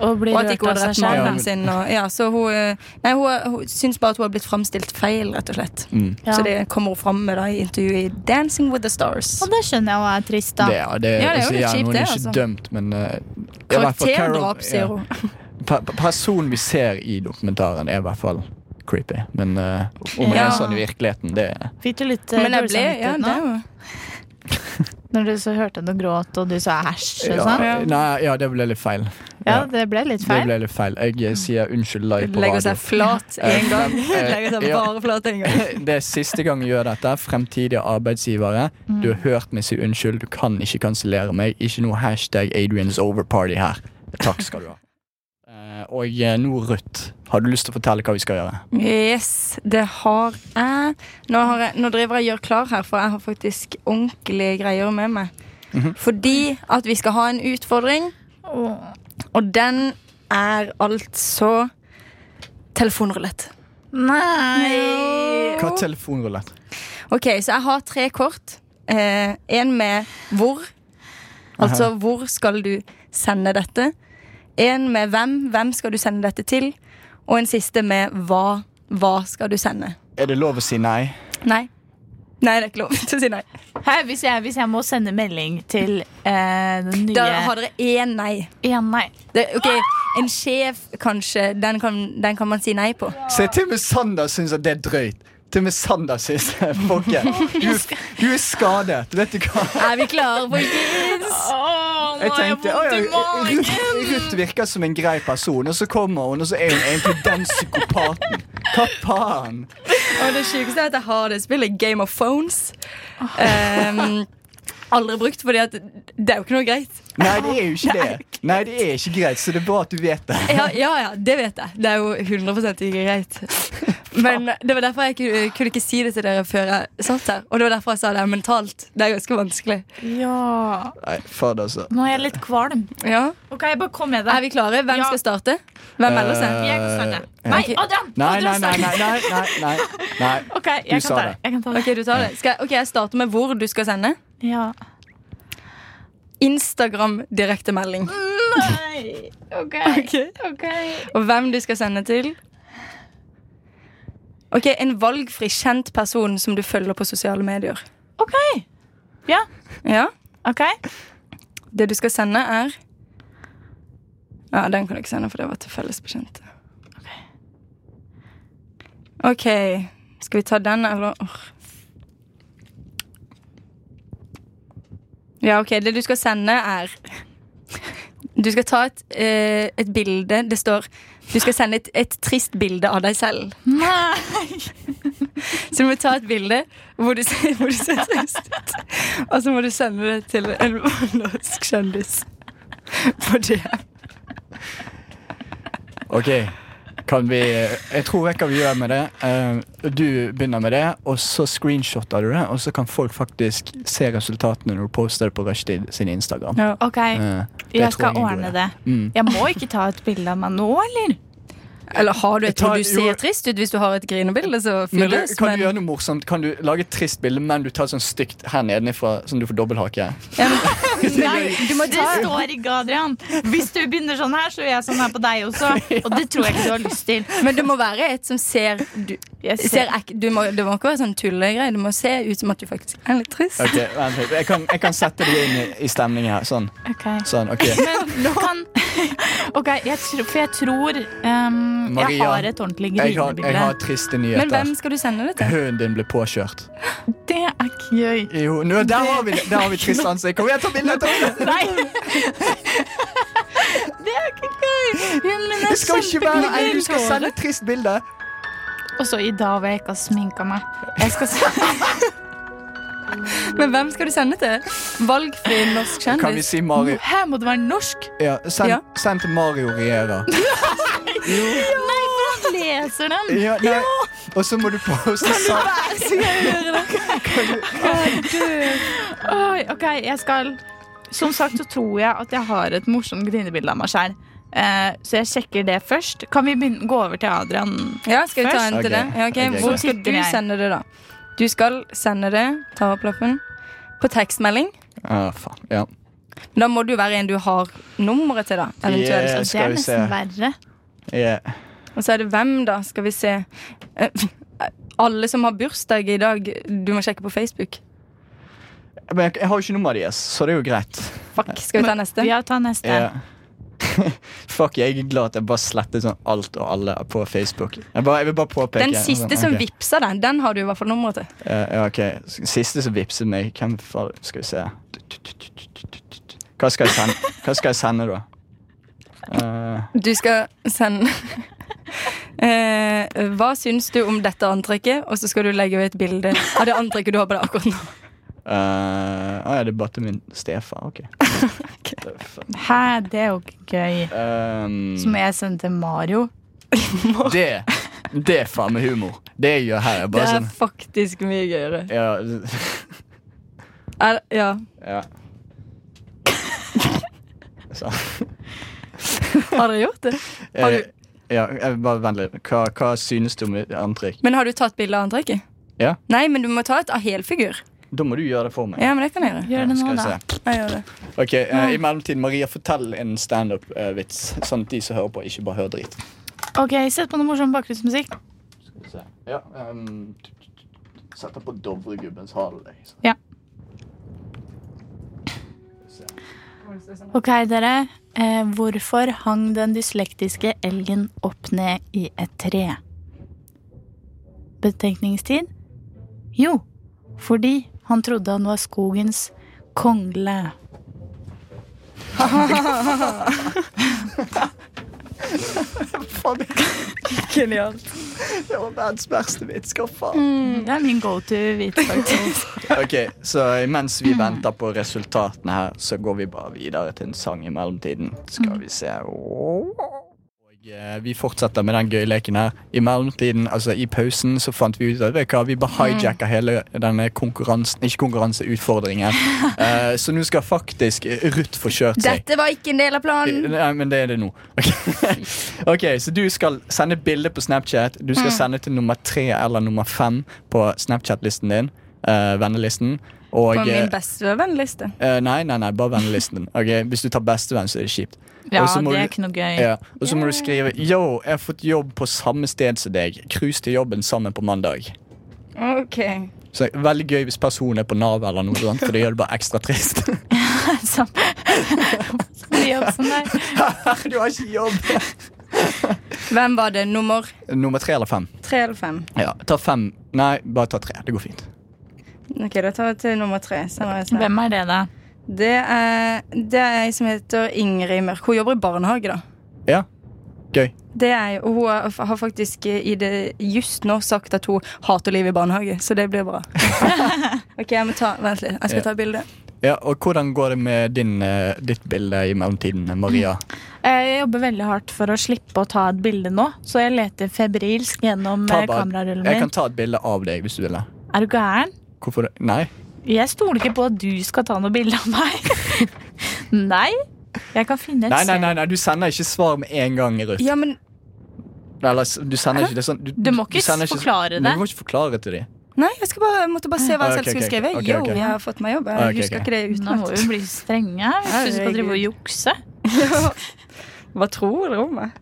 Og, og blir
Og at
rørt
ikke hun
av
har
seg
drept
selv.
Ja,
mannen
men-
sin. Og, ja, så hun, eh, nei, hun, hun syns bare at hun har blitt framstilt feil, rett og slett.
mm.
Ja.
Så det kommer hun fram med da i intervjuet i Dancing with the Stars.
Og det skjønner jeg og er trist, da.
Det, ja, det,
Ja, det er jo
så
litt
gjerne,
kjipt,
Hun er
det,
ikke
altså.
dømt, men eh, i hvert fall Carol-
Karakterdrap, sier hun.
Ja. Per- per- Personen vi ser i dokumentaren, er i hvert fall creepy. Men eh, om hun
Ja.
er sånn i virkeligheten, det
Fikk du litt eh,
Men jeg
dårlig
ble ja,
samvittighet
det
nå?
er jo.
Når du så hørte henne gråte, og du sa æsj og sånn?
ja, nei, ja, det ble litt feil.
Ja,
Ja.
det ble litt
Det
feil.
ble litt feil. Jeg eh, sier unnskyld live på
Legger
radio.
seg flat
Eh,
én gang.
frem- eh,
Legger seg
ja.
bare flat én gang.
Det er siste gang jeg gjør dette. Fremtidige arbeidsgivere.
Mm.
Du har hørt meg si unnskyld. Du kan ikke kansellere meg. Ikke noe hashtag Adrian's overparty her. Takk skal du ha. Eh, Og eh, nå, Ruth, har du lyst til å fortelle hva vi skal gjøre?
Yes, det har jeg. Nå, har jeg. nå driver jeg og gjør klar her, for jeg har faktisk ordentlige greier med meg.
Mhm.
Fordi at vi skal ha en utfordring,
Åh.
og den er altså telefonrulett.
Nei!
Hva er telefonrulett?
Ok, så jeg har tre kort. Eh, en med hvor. Altså hvor skal du sende dette? En med hvem. Hvem skal du sende dette til? Og en siste med hva. Hva skal du sende?
Er det lov å si nei?
Nei. Nei, det er ikke lov til å si nei.
Hæ, hvis, jeg, hvis jeg må sende melding til eh, den nye
Da har dere én nei.
Ja, nei.
Det, ok, En sjef, kanskje. Den kan, den kan man si nei på.
Se, til og med Sander syns at det er drøyt. Til og med Sander syns det. Folke, du, du er skadet. Vet du hva?
Er vi klare, folkens?
Åh,
Jeg tenkte, «Å, ja,
magen!»
Ruth, Ruth virker som en grei person, og så kommer hun, og så er hun egentlig den psykopaten. Hva faen?
Og det sjukeste er at jeg har det spillet Game of Phones. Ehm, aldri brukt, fordi at det er jo ikke noe greit.
Nei, det er jo ikke det. Nei, det er ikke greit, så det er bra at du vet det.
Ja, ja, ja, det vet jeg. Det er jo 100 ikke greit. Men det var derfor jeg ikke, kunne ikke si det til dere før jeg satt her. Og det var derfor jeg sa det er mentalt. Det er ganske vanskelig.
Ja.
Nei, fader, altså.
Nå er jeg litt kvalm.
Ja.
Ok, bare kom med
Er
det.
vi klare? Hvem
Ja.
skal starte? Hvem melder seg?
Eh,
Jeg kan starte.
ja.
Nei,
Ok.
Adrian!
Nei, nei,
Adrian
nei, nei,
starter.
nei, nei, nei, nei.
Ok, jeg
Du
kan
sa
ta
det.
det. Jeg kan ta det.
Ok, du tar det. Skal jeg, ok, Jeg starter med hvor du skal sende.
Ja.
Instagram direktemelding.
Nei, ok. ok.
Og hvem du skal sende til. Ok, En valgfri kjent person som du følger på sosiale medier.
Ok. Ja,
Ja,
ok.
Det du skal sende, er Ja, den kan du ikke sende, for det var til felles bekjente. OK. Skal vi ta den, eller Åh. Ja, OK. Det du skal sende, er Du skal ta et, eh, et bilde. Det står Du skal sende et, et trist bilde av deg selv.
Nei.
Så du må ta et bilde hvor du, ser- hvor du ser trist ut. Og så må du sende det til en norsk kjendis. For det
Ok, kan vi Jeg tror jeg kan vi gjøre med det. Eh, Du begynner med det, og så screenshotter du det. Og så kan folk faktisk se resultatene når du poster det på Rushtid sin Instagram.
Ok,
Eh, det tror
jeg skal
er en god
ordne
idé.
det.
Mm.
Jeg må ikke ta et bilde av meg nå, eller?
Eller har du et
tar-
hvor du ser
jo-
trist ut? Hvis du har et grinebilde, så
Men det,
fylles.
kan
Men,
du gjøre noe morsomt? Kan du lage et trist bilde, men du tar sånn stygt her nedenifra, sånn du får dobbelthake?
ja, men,
Nei, det står ikke, Adrian. Hvis du begynner sånn her, så gjør jeg sånn her på deg også. Og det tror jeg ikke du har lyst til.
men det må være et som ser du,
Jeg
ser ek, du må, Det må ikke være sånn tullegreie. Det må se ut som at du faktisk er litt trist.
Ok, vent litt. Jeg kan, jeg kan sette det inn i, i stemningen her. Sånn.
Ok.
sånn ok
Men nå kan Ok, jeg tror, for jeg tror ehm, Jeg
Maria,
har et ordentlig
Jeg har, jeg har
grinebilde.
triste
Men
nyheter.
hvem skal du sende det til?
Hunden din ble påkjørt.
Det er ikke gøy.
Jo, nå, der har vi, der har vi trist ansikt. Kom igjen, ta bilde! ta bilde.
Nei! Det er ikke gøy. Ja, men det
Det
er
skal ikke være
kjempegøy.
en du skal sende et trist bilde.
Og så i dag hvor jeg ikke har sminka meg. Jeg skal se
Men hvem skal du sende til? Valgfri norsk
Kan vi
kjendis?
si Mario?
Her må det være norsk.
Ja, send,
Ja.
send til Mario Riera.
Nei, for han leser den.
Ja, nei. Og så må du poste sammen.
Oi, ok, jeg skal Som sagt så tror jeg at jeg har et morsomt grinebilde av meg sjæl. så jeg sjekker det først. Kan vi begynne, gå over til Adrian?
Ja, skal jeg ta en til
Ok.
det? Ja, ok.
Ok,
Hvor
greit.
skal du
Sitter jeg.
sende det, da? Du skal sende det, ta opp lappen, på tekstmelding.
Ah, faen. Ja.
Da må det jo være en du har nummeret til, da. Eventuelt.
Ja,
Og det
skal
er
vi se.
nesten verre.
Ja.
Og så er det hvem, da? Skal vi se. Eh, Alle som har bursdag i dag, du må sjekke på Facebook.
Men jeg, jeg har jo ikke nummeret deres, så det er jo greit.
Fuck, skal vi ta neste?
Ja, ta neste.
Ja. Fuck, jeg er glad at jeg bare slettet sånn alt og alle på Facebook. Jeg, bare, jeg vil bare påpeke
Den siste som
Ok.
vippser den, den har du i hvert fall nummeret til.
Ja, ja, ok. Siste som vippset meg. Hvem faen Skal vi se. Hva skal jeg sende, Hva skal jeg sende da? Eh,
Du skal sende Eh, hva syns du om dette antrekket? Og så skal du legge ut et bilde av det antrekket du har på deg akkurat nå.
eh, ah, ja, det er bare til min stefar. Ok.
Hæ, det er jo ikke gøy.
Um,
Som jeg sendte til Mario.
det, det er faen meg humor. Det jeg gjør her, er
Det
bare
er
sånn
faktisk mye gøyere.
ja,
Er, ja.
ja. Så,
Har dere gjort det? Har du-
eh, ja, jeg- bare vent litt. Hva, hva synes du om mitt antrekk?
Men har du tatt bilde av antrekket?
Ja.
Nei, men du må ta et av helfigur.
Da må du gjøre det for meg.
Ja, men det kan jeg gjøre.
Gjør det
skal
nå,
vi
da.
se.
Jeg gjør det.
Ok, eh, I mellomtiden, Maria, fortell en standup-vits. sånn at de som hører på, ikke bare hører drit.
Ok, Sett på noe morsom bakgrunnsmusikk.
Ja, Setter på Dovregubbens hale.
Ok, dere. Eh, hvorfor hang den dyslektiske elgen opp ned i et tre? Betenkningstid? Jo, fordi han trodde han var skogens kongle.
Genialt.
Det var verdens verste vits. Hva faen?
Mm, Det er min go to-vits, faktisk.
Ok, Så mens vi venter på resultatene her, så går vi bare videre til en sang i mellomtiden. Skal vi se Og eh, vi fortsetter med den gøyleken her. I mellomtiden, altså i pausen, så fant vi ut at vet du hva, vi bare hijacka hele denne konkurransen Ikke konkurranse, utfordringen. Eh, så nå skal faktisk Ruth få kjørt seg.
Dette var ikke en del av
Mm.
planen.
Nei, men Eh, det er det nå. Ok, Ok, Så du skal sende bilde på Snapchat. Du
Mm.
skal sende til nummer tre eller nummer fem på Snapchat-listen din. eh, vennelisten. Og,
På min
eh,
beste vennliste.
eh, nei, nei, nei, bare vennelisten. din. Ok, Hvis du tar bestevenn, så er det kjipt.
Ja,
Og så må
det er
du-
ikke noe gøy.
ja, og så må du skrive Yo, jeg har fått jobb på samme sted som deg. Cruise til jobben sammen på mandag.
Ok.
Så Veldig gøy hvis personen er på Nav, eller noe sånt, for det gjør det bare ekstra trist.
Så- Fri opp som deg.
du har ikke jobb!
Hvem var det? Nummer
Nummer tre eller fem?
tre eller fem?
Ja, Ta fem. Nei, bare ta tre. Det går fint.
Ok, Da tar vi til nummer tre. Sender jeg snap.
Hvem er det, da?
Det er, det er ei som heter Ingrid Mørk. Hun jobber i barnehage, da.
Ja. Gøy.
Det er, og hun er- har faktisk i det just nå sagt at hun hater livet i barnehage, så det blir bra. ok, jeg må ta, Vent litt, jeg skal ta bilde.
Ja, og hvordan går det med din, eh, ditt bilde i mellomtiden, Maria?
Eh, Jeg jobber veldig hardt for å slippe å ta et bilde nå, så jeg leter febrilsk gjennom
Ta
eh,
bare-
kamerarullen
Jeg kan
min.
ta et bilde av deg hvis du vil. det.
Er du gæren?
Hvorfor det? Nei?
Jeg stoler ikke på at du skal ta noe bilde av meg. Nei. Jeg kan finne et
Nei, nei,
sted.
nei, nei, du sender ikke svar med en gang, Ruth.
Ja, men
Eller, s- du sender ikke det sånn
Du må ikke
sender
forklare
Men
det.
Du må ikke forklare til dem.
Nei, jeg, skal bare, jeg måtte bare se hva jeg
Ok,
selv skulle
ok,
skrive.
ok,
Yo,
ok.
jeg har fått meg jobb. Jeg
Ok, ok.
husker ikke det
Nå må
utenat.
vi bli strenge her hvis du skal drive og jukse.
Hva tror dere om meg?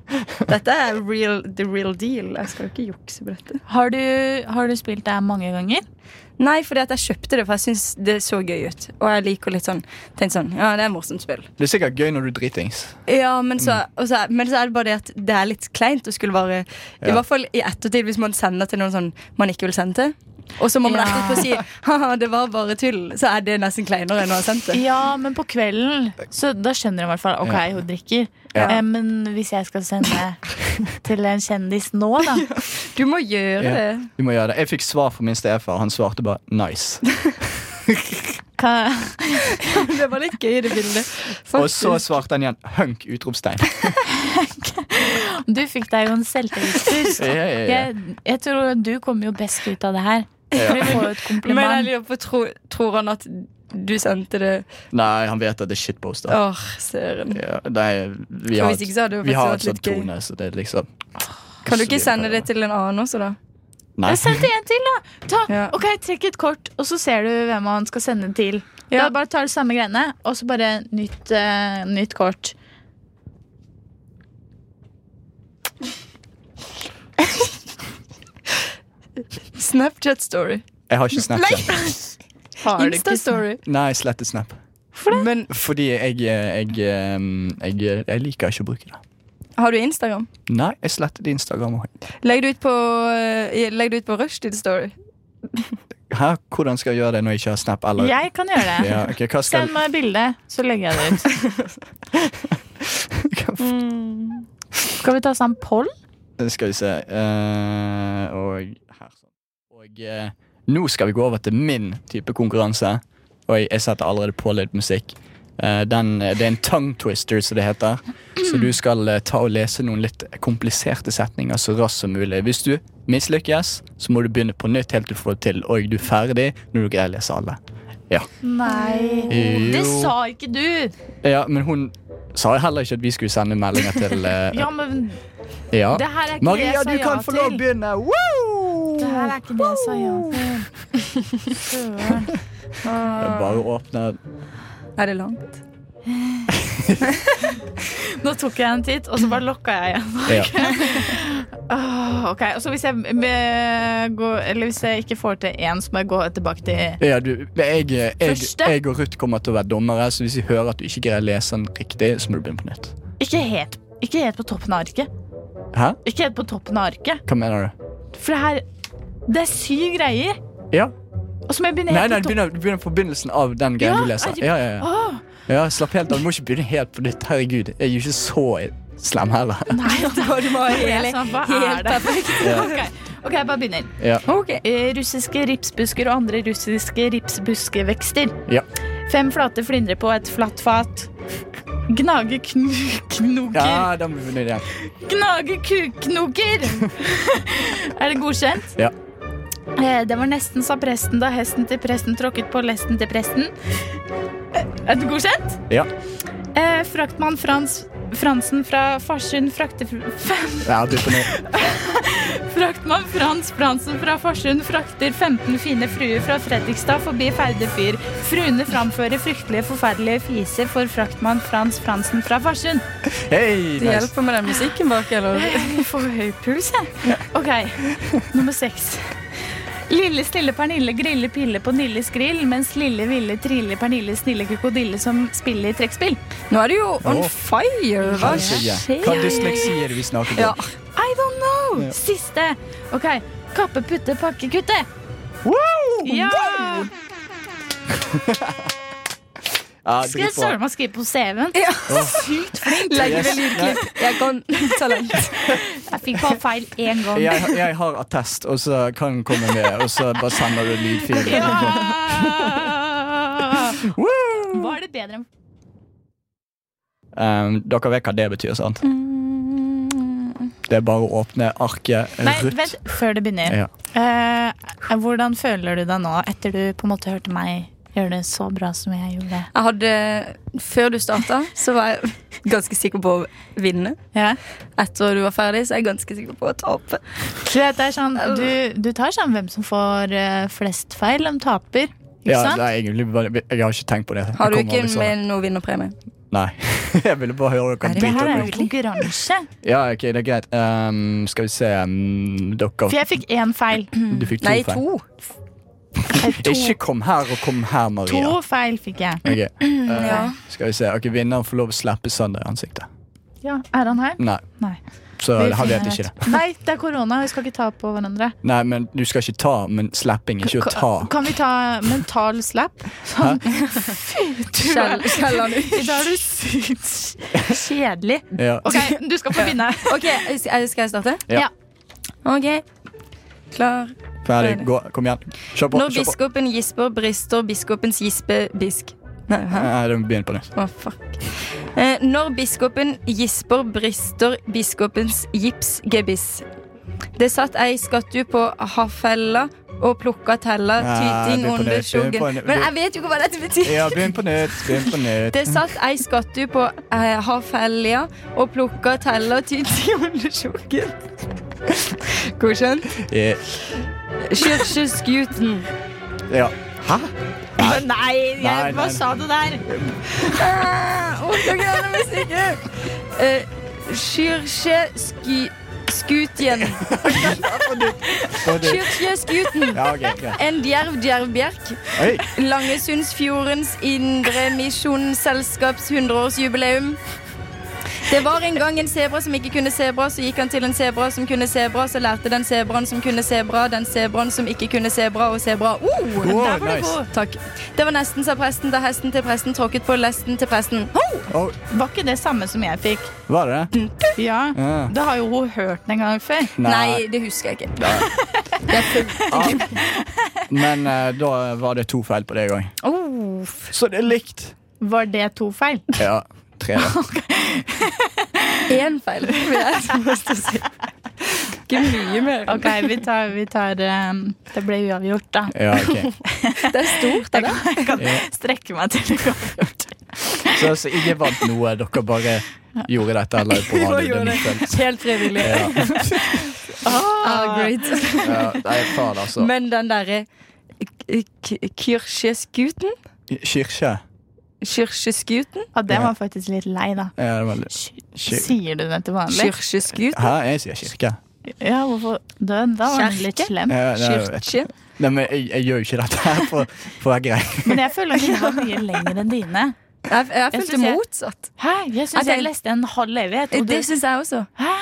Dette er real, the real deal. Jeg skal jo ikke jukse på dette.
Har du, har du spilt det her mange ganger?
Nei, fordi at jeg kjøpte det, for jeg syns det så gøy ut. Og jeg liker litt sånn Tenk sånn, ja, det er morsomt spill.
Det er sikkert gøy når du er dritings.
Ja, men så,
Mm.
og så, men så er det bare det at det er litt kleint å skulle være I
Ja.
hvert fall i ettertid, hvis man sender til noen sånn man ikke vil sende til. Og så må man
Ja.
etterpå si haha, det var bare tull. Så er det nesten kleinere enn å ha sendt det.
Ja, men på kvelden. Så da skjønner hun i hvert fall. Ok, hun drikker.
Ja.
Eh, men hvis jeg skal sende til en kjendis nå, da
Du må gjøre
Ja.
det.
Du må gjøre det. Jeg fikk svar fra min stefar. Han svarte bare 'nice'.
kan,
Det var litt gøy, det bildet.
Og så
Faktisk.
svarte han igjen 'hunk!' utropstegn.
Du fikk deg jo en selvtillitsboost.
Ja, ja, ja.
Jeg, jeg tror du kommer jo best ut av det her.
Ja.
Du får jo et
Men jeg
kompliment.
lurer på, tro, tror han at du sendte det
Nei, han vet at det er shitposter.
Åh, søren.
Ja, nei, vi
For
har,
hvis ikke så hadde det
vi har
faktisk
et sånt
vært litt gøy.
tone, så det er liksom
Kan du ikke sende det til en annen også, da?
Nei.
Jeg sendte en til, da. Ta,
Ja.
ok, Trekk et kort, og så ser du hvem han skal sende til.
Ja.
Da bare tar du samme greiene, og så bare nytt, eh, nytt kort.
Snapchat-story.
Jeg har ikke Snapchat.
Har du ikke
Insta-story.
Nei, slettet Snap.
Men
Fordi jeg jeg, jeg, jeg jeg liker ikke å bruke det.
har du Instagram?
Nei, jeg slettet Instagram òg.
Legg det ut på, eh, legg det ut på rushtid-story.
Hæ? Hvordan skal jeg gjøre det når jeg ikke har Snap? Eller?
Jeg kan gjøre det.
Ja, ok, hva skal
Send meg bilde, så legger jeg det ut. Skal vi ta sånn poll?
Skal vi se eh, Og her sånn. Og eh, nå skal vi gå over til min type konkurranse. Og jeg, jeg setter allerede på litt musikk. Eh, den, det er en tongue twister, som det heter. Så du skal eh, ta og lese noen litt kompliserte setninger så raskt som mulig. Hvis du mislykkes, så må du begynne på nytt helt til du får det til. Og du er ferdig når du greier å lese alle. Ja.
Nei. Det
Jo.
sa ikke du!
ja, men hun sa heller ikke at vi skulle sende meldinger til eh,
Ja, men
ja.
det her er ikke det
Maria,
jeg sa
du
ja
kan få lov å
til.
begynne! Woo!
Det her er ikke det jeg sa ja til. Oh. Søren.
Det er bare å åpne
Er det langt?
Nå tok jeg en titt, og så bare lokka jeg igjen.
ja.
Åh, ok, og så hvis jeg, eh, går, eller hvis jeg ikke får til én, så må jeg gå tilbake til
ja, du, jeg, jeg,
Første?
jeg og Ruth kommer til å være dommere, så hvis vi hører at du ikke greier å lese den riktig, så må du begynne på nytt.
Ikke helt, ikke helt på toppen av arket.
Hæ?
Ikke helt på toppen av arket.
Hva mener du?
For det her Det er syv greier,
Ja.
og så må jeg begynne
Nei,
helt
nei, du
på toppen.
begynner, du begynner på begynnelsen av den greia
Ja,
du leser.
jeg-
Ja, ja, ja.
Åh,
ja, Slapp helt av. Du må ikke begynne helt på nytt. Herregud, jeg er jo ikke så slem heller.
nei, da var
hele-
sånn, Hva er
helt
det? Ok, ok, jeg bare begynner.
Ja.
Eh, Russiske ripsbusker og andre russiske ripsbuskevekster.
Ja.
Fem flate flyndre på et flatt fat. Gnage knu knoker.
ja, da må vi begynne igjen.
Gnage kukknoker! er det godkjent?
Ja.
Eh, Det var nesten sa presten da hesten til presten tråkket på lesten til presten. Eh, Er det godkjent?
Ja.
Eh, Fraktmann Frans Fransen fra Farsund frakter f-
Ja, begynn på nytt.
Fraktmann Frans Fransen fra Farsund frakter 15 fine fruer fra Fredrikstad forbi Færde fyr. Fruene framfører fryktelige, forferdelige fiser for fraktmann Frans Fransen fra Farsund.
Hei!
Det
Nice.
hjelper med den musikken bak, eller?
Jeg får høy puls, jeg. Ok, nummer seks. Lille stille Pernille griller pille på Nilles grill, mens lille ville triller Pernille snille krokodille som spiller trekkspill.
Nå er du jo on
Åh.
fire! Hva
Kanskje.
skjer?
Hva dysleksi er det vi snakker
Ja.
om?
I don't know! Siste. Ok, kappe, putte, pakke, kutte.
Wow!
Ja!
Ja,
Skal jeg
dritbra.
søren meg skrive på CV-en?
Ja.
Sykt flink.
Legg
Yes.
ved lydklipp. Jeg kan så langt.
Jeg fikk bare feil én gang.
Jeg, jeg har attest, og så kan den komme med, og så bare sender du lydfil.
Ja! Hva er det bedre enn
Um, dere vet hva det betyr, sant? Det er bare å åpne arket
Nei,
rutt.
vent, før det begynner.
Ja.
Eh, hvordan føler du deg nå etter du på en måte hørte meg gjøre det så bra som jeg gjorde?
Jeg hadde, Før du starta, så var jeg ganske sikker på å vinne.
Ja.
Etter du var ferdig, så er jeg ganske sikker på å tape.
Du, vet, det er sånn, du, du tar sånn hvem som får eh, flest feil, de taper. Ikke
Ja, det
sant?
er egentlig bare, jeg har ikke tenkt på det.
Har du
Jeg kommer
ikke
aldri så langt.
med noe vinnerpremie?
Nei. jeg ville bare høre dere
Er det-
Det
drite
her er
opp.
jo
i.
konkurranse.
Ja, ok, det er greit. Um, skal vi se um, Dere
For jeg fikk én feil.
Du fikk to
Nei,
feil.
to.
Eh,
Ikke
To,
kom her og kom her, Maria.
to feil fikk jeg.
Ok, eh,
Ja.
Skal vi se. Ok, Vinneren får lov å slippe Sander i ansiktet.
Ja, er han her?
Nei.
Nei.
Så
Vi
han vet
finner
ikke det.
et. Nei, det er korona. Vi skal ikke ta på hverandre.
Nei, men Du skal ikke ta, men slapping. Ikke å ta.
Ka- Kan vi ta mental slap? Sånn. Fy, du er-
Kjell- Kjelland.
I dag er du sykt kjedelig.
Ja.
OK, du skal få vinne.
Ok, jeg- Skal jeg starte?
Ja.
Ok, Klar.
Ferdig. Gå. Kom igjen. Kjør på.
Når
Kjør på.
biskopen gisper, brister biskopens gispe bisk. Nei, hæ?
Nei, Eh, det må begynne på nytt.
Å, fuck. Eh, når biskopen gisper, brister biskopens gips gebiss. Det satt ei skattu på Hafella og plukka tella,
Nei,
tyting
begynn på nytt,
under
begynn på
skjuggen.
nytt.
Men jeg vet jo ikke hva dette betyr.
Ja, begynn på nytt. Begynn på nytt.
Det satt ei skattu på eh, Hafella og plukka tella, tyting under skjuggen. Godkjent.
Eh,
Kirkeskuten.
Ja. Hæ?
Men nei,
Nei,
jeg,
nei,
hva sa du der?
Orker ikke denne musikken. Eh, Kirkesky... Skutjen.
Og du-
Kirkeskuten.
Ja, ok, greit.
En djerv djervbjerk.
Oi.
Langesundsfjordens Indremisjon selskaps 100-årsjubileum. Det var en gang en sebra som ikke kunne sebra, så gikk han til en sebra som kunne sebra, så lærte den sebraen som kunne sebra, den sebraen som ikke kunne sebra, og sebra. Oh,
Wow,
der var du
nice.
god. Takk. Det var nesten, sa presten, da hesten til presten tråkket på lesten til presten. Ho!
Å,
Var ikke det samme som jeg fikk?
var det det?
Ja.
Ja.
Da har jo hun hørt den en gang før.
Nei, det husker jeg ikke.
Ah. Men eh, da var det to feil på det òg.
Oh, f-
Så det er likt.
Var det to feil?
Ja. Tre, da.
én feil. vil jeg si. Ikke mye mer.
Ok, vi tar, vi tar ehm, Det ble uavgjort, da.
Ja, ok.
Det er stort. Det
Jeg kan, jeg kan strekke meg til det går uavgjort.
Så altså, ikke vant noe. Dere bare gjorde dette live på radio. Det er min feil.
Helt frivillig.
Ja.
Ah, great.
Ja, nei, faen, altså.
Men den derre Kirkeskuten?
Kirke.
Kirkeskuten?
Ja, det var faktisk litt lei, da.
Ja, det var litt- Kyr-
Sier du det til vanlig?
Kirkeskuten?
Hæ, jeg sier kirke.
Ja, hvorfor den? Da var den litt
Kjerke?
slem.
Ja, nei, jeg vet.
Kirke?
Nei, men jeg, jeg gjør jo ikke dette her for, for jeg greier.
Men jeg føler at den var mye lenger enn dine.
Jeg, jeg
synes
følte
jeg-
motsatt.
Hæ? Jeg
Jeg
syns jeg
tenk-
leste en halv evighet. Og du,
Det syns jeg også.
hæ?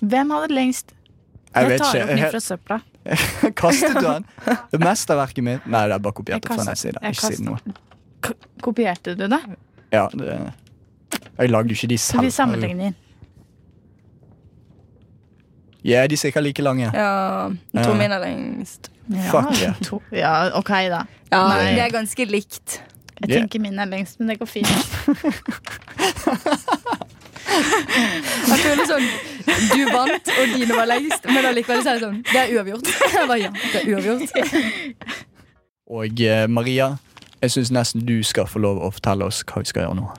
Hvem hadde lengst?
Jeg
Jeg
vet
tar opp den
ikke.
fra søpla.
Jeg kastet du den? Det mesterverket mitt? Nei, det er bare kopiert
Jeg
det fra nettsiden.
kastet- jeg
Ikke si
kastet-
noe.
K kopierte du det?
Ja, det, jeg lagde jo ikke de selv.
Så vi sammenligner.
Ja, de er sikkert like lange.
Ja, to
Ja.
min er lengst.
Ja,
Fuck yeah.
to. ja, OK, da.
Ja,
Nei.
det er ganske likt.
Jeg
Yeah.
tenker min er lengst, men det går fint.
Jeg føler sånn Du vant, og dine var lengst, men allikevel så er det sånn Det er uavgjort. Jeg bare, ja, det er uavgjort.
Og eh, Maria, jeg syns nesten du skal få lov å fortelle oss hva vi skal gjøre nå.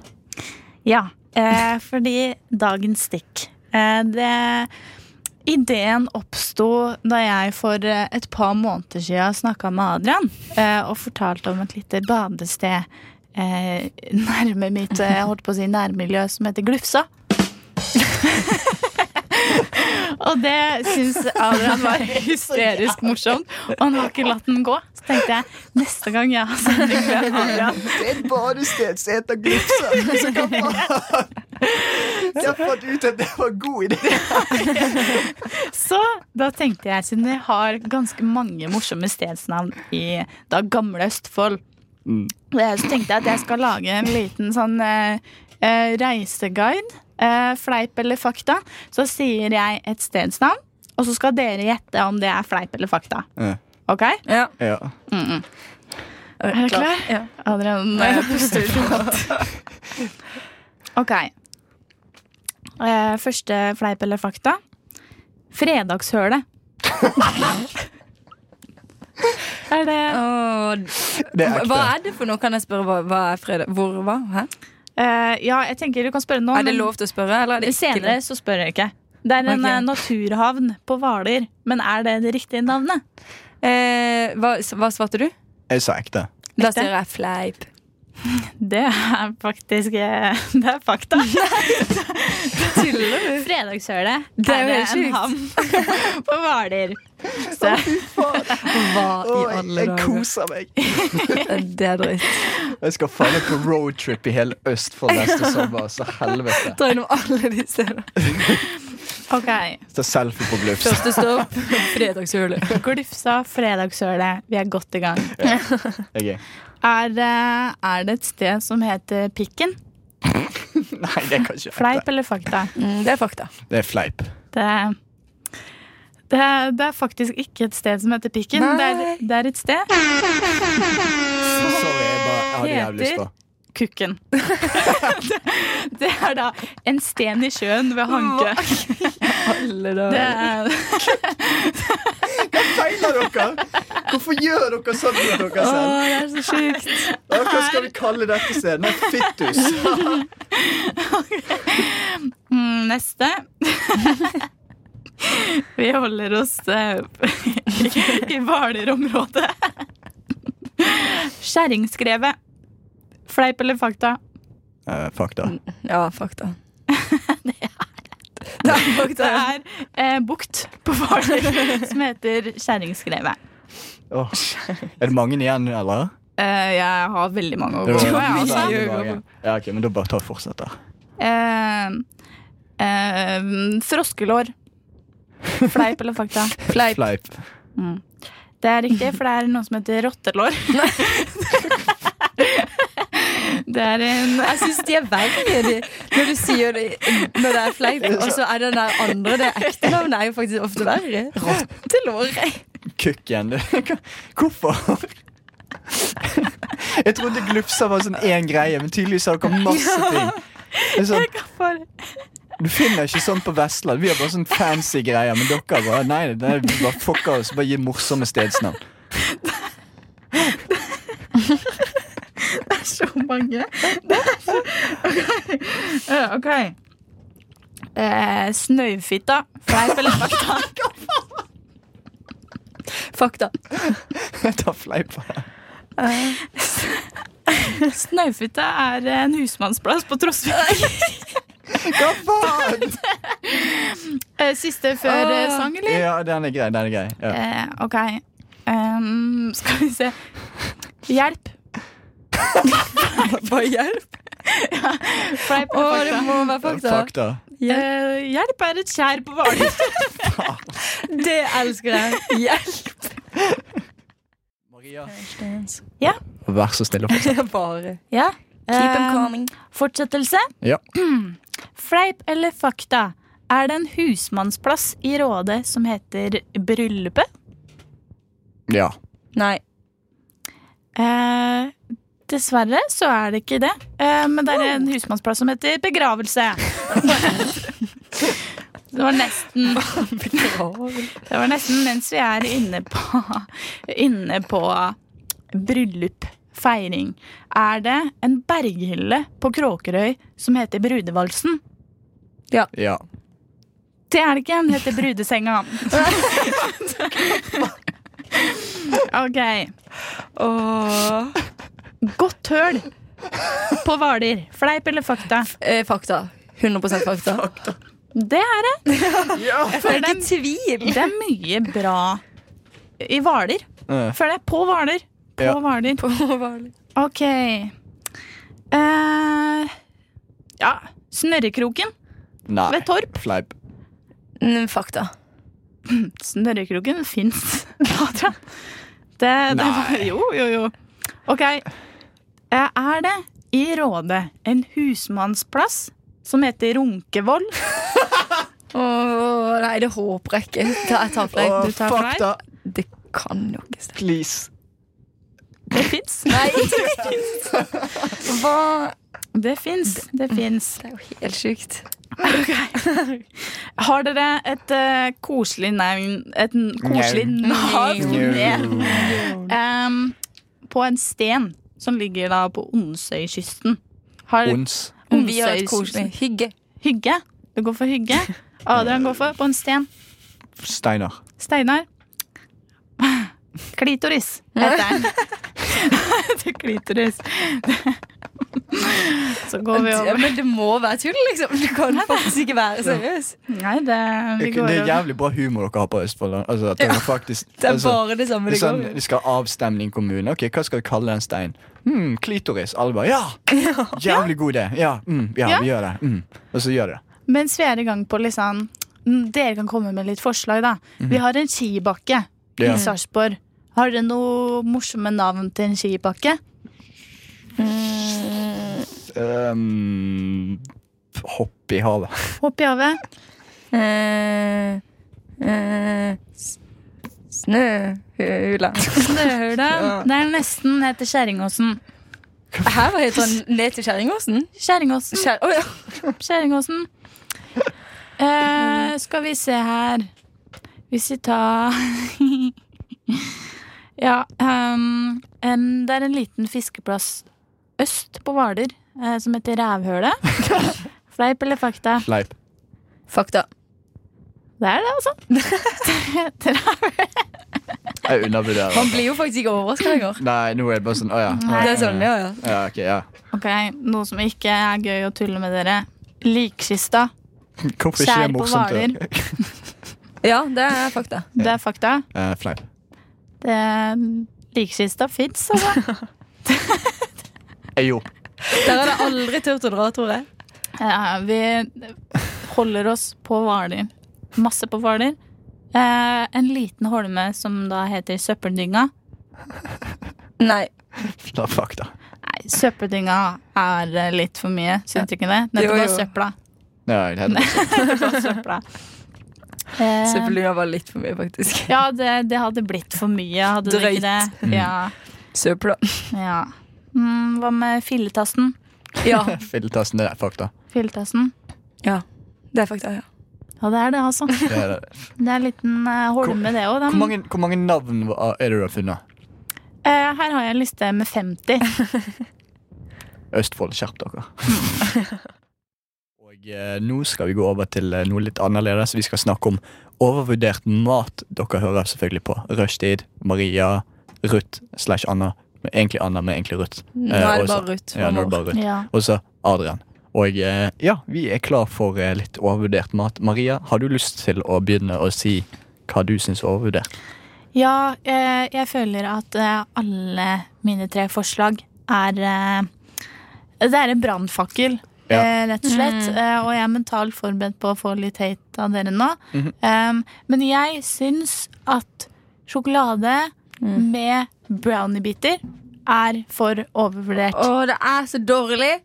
Ja, eh, fordi dagens stikk eh, det, Ideen oppsto da jeg for eh, et par måneder siden snakka med Adrian eh, og fortalte om et lite badested eh, nærme mitt eh, jeg holdt på å si nærmiljø som heter Glufsa. og det syns Adrian var hysterisk morsomt, og han har ikke latt den gå. Så tenkte jeg neste gang jeg har sending med Adrian
Det er et badested som heter Glufsa! Så hva faen? Jeg har fått ut at det var en god idé.
Så da tenkte jeg, siden vi har ganske mange morsomme stedsnavn i da gamle Østfold, eh, så tenkte jeg at jeg skal lage en liten sånn eh, eh, reiseguide. Eh, fleip eller fakta. Så sier jeg et stedsnavn, og så skal dere gjette om det er fleip eller fakta.
Ja.
Ok?
Ja.
Ja.
Er
du klar?
Ja.
Adrian eh, puster tungt. OK. Eh, første fleip eller fakta. Fredagshølet. er det
Åh,
Det er
hva
ekte.
er det for noe? Kan jeg spørre hva, hva er fredag? Hvor hva? Hæ?
eh, Ja, jeg tenker du kan spørre nå.
Er det
men-
lov til å spørre, eller er det ikke
Senere så spør jeg ikke. Det er en
Ok.
eh, naturhavn på Hvaler. Men er det det riktige
lov?
navnet?
Eh, hva, hva svarte du?
Jeg sa ekte.
Da sier jeg fleip.
Det er faktisk eh, Det er fakta.
Tuller du?
Fredagshølet
Det er jo
er det
helt
en
sjukt.
havn på Hvaler. Så
Hva i alle
jeg
dager?
koser meg.
Det er drøyt.
Jeg skal faen meg på roadtrip i hele Østfold neste sommer. Så helvete.
Dra innom alle de stedene.
OK.
Ta selfie på Glufs.
Første stopp fredagshjulet.
Glufsa, Fredagshølet. Vi er godt i gang.
Jeg er-
Er, eh, er det et sted som heter Pikken?
Nei, det er kanskje
Fleip eller fakta?
Mm, Det er fakta.
Det er fleip.
Det, eh, det, er- det er faktisk ikke et sted som heter Pikken. Det er, det er et sted
Sorry, jeg bare jeg hadde jævlig lyst på.
Kukken. det, det er da en sten i sjøen ved Hankø.
Alle dager.
Det er,
Hva feiler dere? Hvorfor gjør dere sånn mot dere
Å,
selv?
det er så sjukt.
Hva skal vi kalle dette stedet? Nei, Fittus.
mm, neste. Vi holder oss eh, i Hvaler-området. Skjæringskrevet. Fleip eller fakta?
Eh, fakta.
Ja, fakta. Det er
Det
fakta.
er eh, bukt på Hvaler som heter Skjæringskrevet.
Åh. Er det mange igjen, eller?
Eh, jeg har veldig mange å
Det
gå
var- det
på. jeg,
var
altså.
veldig mange. Ja, ok, men da bare ta og fortsett, da.
Eh, eh, froskelår. Fleip eller fakta?
Fleip.
Fleip.
Det er riktig, for det er noe som heter rottelår. det er en
Jeg syns de er verre de, når du sier det når det er fleip, og så er det den der andre, det ekte navnet, er jo faktisk ofte verre. Rottelår.
Kukken. du. Hva- Hvorfor? Jeg trodde glufsa var sånn én greie, men tydeligvis har dere masse ting. Det er sånn, du finner ikke sånn på Vestland. Vi har bare sånn fancy greier, men dere bare Nei, det er bare fucker oss. Bare gi morsomme stedsnavn.
så mange. Det er så OK. Eh, ok. Eh, Snøvfitta. Fleip eller fakta?
Fakta.
Jeg tar fleip.
Eh.
Snøvfitta er en husmannsplass på Trosvik.
Hva faen?
Eh, siste før
Åh.
eh, sang, eller?
Ja, den er grei. Den er grei. Ja.
Eh, ok. Ehm, skal vi se. Hjelp.
Bare hjelp.
Fleip
Å,
eller
det
fakta?
må være fakta.
Fakta.
Hjelp.
Eh, hjelp er et skjær på Hvaler.
Det elsker jeg. Hjelp.
Maria,
Ja.
vær så snill å fortsette.
Bare.
Ja.
Keep them
Ehm,
coming.
fortsettelse.
Ja.
Fleip eller fakta? Er det en husmannsplass i Råde som heter Bryllupet?
ja.
Nei.
Eh, dessverre så er det ikke det. Eh, men det er en husmannsplass som heter Begravelse. Det var nesten Det var nesten mens vi er inne på, inne på bryllup, feiring. Er det en berghylle på Kråkerøy som heter Brudevalsen?
Ja.
Det er det ikke, den heter Brudesenga. OK.
Åh.
Godt høl på Hvaler. Fleip eller fakta?
Eh, fakta. 100 fakta.
Det er det.
Jeg føler ikke tvil.
Det er mye bra i Hvaler.
Eh,
Føler jeg. På Hvaler. På
Ja.
Hvaler. Ok. Eh, ja, Snørrekroken
nei.
ved Torp.
Fleip.
Mm, Fakta.
Snørrekroken fins, Adrian. Det, det var
Nei.
Jo, jo, jo. Ok. Eh, er det i Råde en husmannsplass som heter Runkevoll?
Åh, nei, det håper jeg ikke. Ta- Jeg tar fleip.
Åh,
Du tar
fleip?
fakta.
Det kan jo ikke stemme.
Please.
fins.
Nei, Hva
Det fins. Det fins.
Det er jo helt sjukt.
Har dere et eh, koselig navn Et n- koselig navn Em, på en sten som ligger da på Onsøykysten? Har
Ons.
Om vi har et koselig
Onsøykysten.
hygge.
Hygge. Du går for hygge. Adrian går for på en sten.
Steinar.
Steinar. Klitoris heter den. Til klitoris. Så går vi
Ja,
over.
men det må være tull, liksom. Du kan faktisk ikke være seriøs.
Nei, det, vi
Det
går
er
over.
jævlig bra humor dere har på Østfold. Altså, at dere faktisk,
Det er
altså,
bare det samme
det er
det går
sånn,
i.
de skal ha avstemning i kommunen. Ok, Hva skal vi kalle den steinen? Hmm, klitoris. Alle bare ja! Jævlig god idé. Ja, mm, ja,
Ja.
vi gjør det. Mm. Og så gjør de det.
Mens vi er i gang på liksom Dere kan komme med litt forslag, da. Vi har en skibakke
Ja.
i Sarpsborg. Har dere noe morsomme navn til en skibakke?
Um, hopp i havet.
Hopp i havet.
Eh, eh, s- Snøhula.
Snøhula. Det er nesten heter Kjerringåsen.
Her var helt sånn ned til Kjerringåsen.
Kjerringåsen.
Kjer Å, ja.
Skjæringåsen. Eh, skal vi se her Hvis vi tar Ja, ehm, en, det er en liten fiskeplass øst på Hvaler eh, som heter Rævhølet. Fleip eller fakta?
Leip.
Fakta.
Det er det, altså. Det heter
Jeg undervurderer.
Man blir jo faktisk ikke overraska lenger.
Nei, nå er det bare sånn Å ja.
Det er sånn, ja, ja.
ja, ok, ja.
ok, noe som ikke er gøy å tulle med dere. Likkista.
Hvorfor ikke det
Skjær
er
på
morsomt?
Hvaler.
Ja, det er fakta.
Det er fakta.
Eh, Fleip.
Det Likkista fins, altså.
Eh, jo.
Der har jeg aldri turt å dra, tror jeg.
Ja, vi holder oss på Hvaler. Masse på Hvaler. Eh, en liten holme som da heter Søppeldynga.
Nei.
Da fuck, da.
Nei, Søppeldynga er eh, litt for mye, syns du ikke det?
Jo,
Nettopp var
jo.
søpla.
Nei, det heter
Det var søpla. Eh,
Søppeldynga var litt for mye, faktisk.
ja, det, det hadde blitt for mye, hadde det ikke
Drøyt.
det? Ja.
Søpla.
ja. Mm, hva med filletassen?
Ja,
Filletassen, det er fuck, da.
Filletassen.
det er fakta. ja
Ja, det er det, altså.
Det er, det.
Det er en liten eh, holme, det òg.
Hvor, mange, hvor mange navn var- er det du har funnet?
Eh, her har jeg en liste med 50.
Østfold, skjerp dere. Og eh, nå skal vi gå over til eh, noe litt annerledes. Vi skal snakke om overvurdert mat. Dere hører selvfølgelig på Rushtid, Maria, Ruth slash Anna. Men egentlig Anna, men egentlig Ruth.
Nå
Eh,
er det
også-
bare Ruth.
Ja, nå er det bare Ruth.
Ja.
Og så Adrian. Og eh, ja, vi er klar for eh, litt overvurdert mat. Maria, har du lyst til å begynne å si hva du syns er overvurdert?
Ja, eh, jeg føler at eh, alle mine tre forslag er eh, Det er en brannfakkel,
Ja.
eh, rett og slett.
Mm.
Eh, og jeg er mentalt forberedt på å få litt hate av dere nå.
Mhm.
Em, men jeg syns at sjokolade
Mm.
med browniebiter er for overvurdert.
Å, det er så dårlig!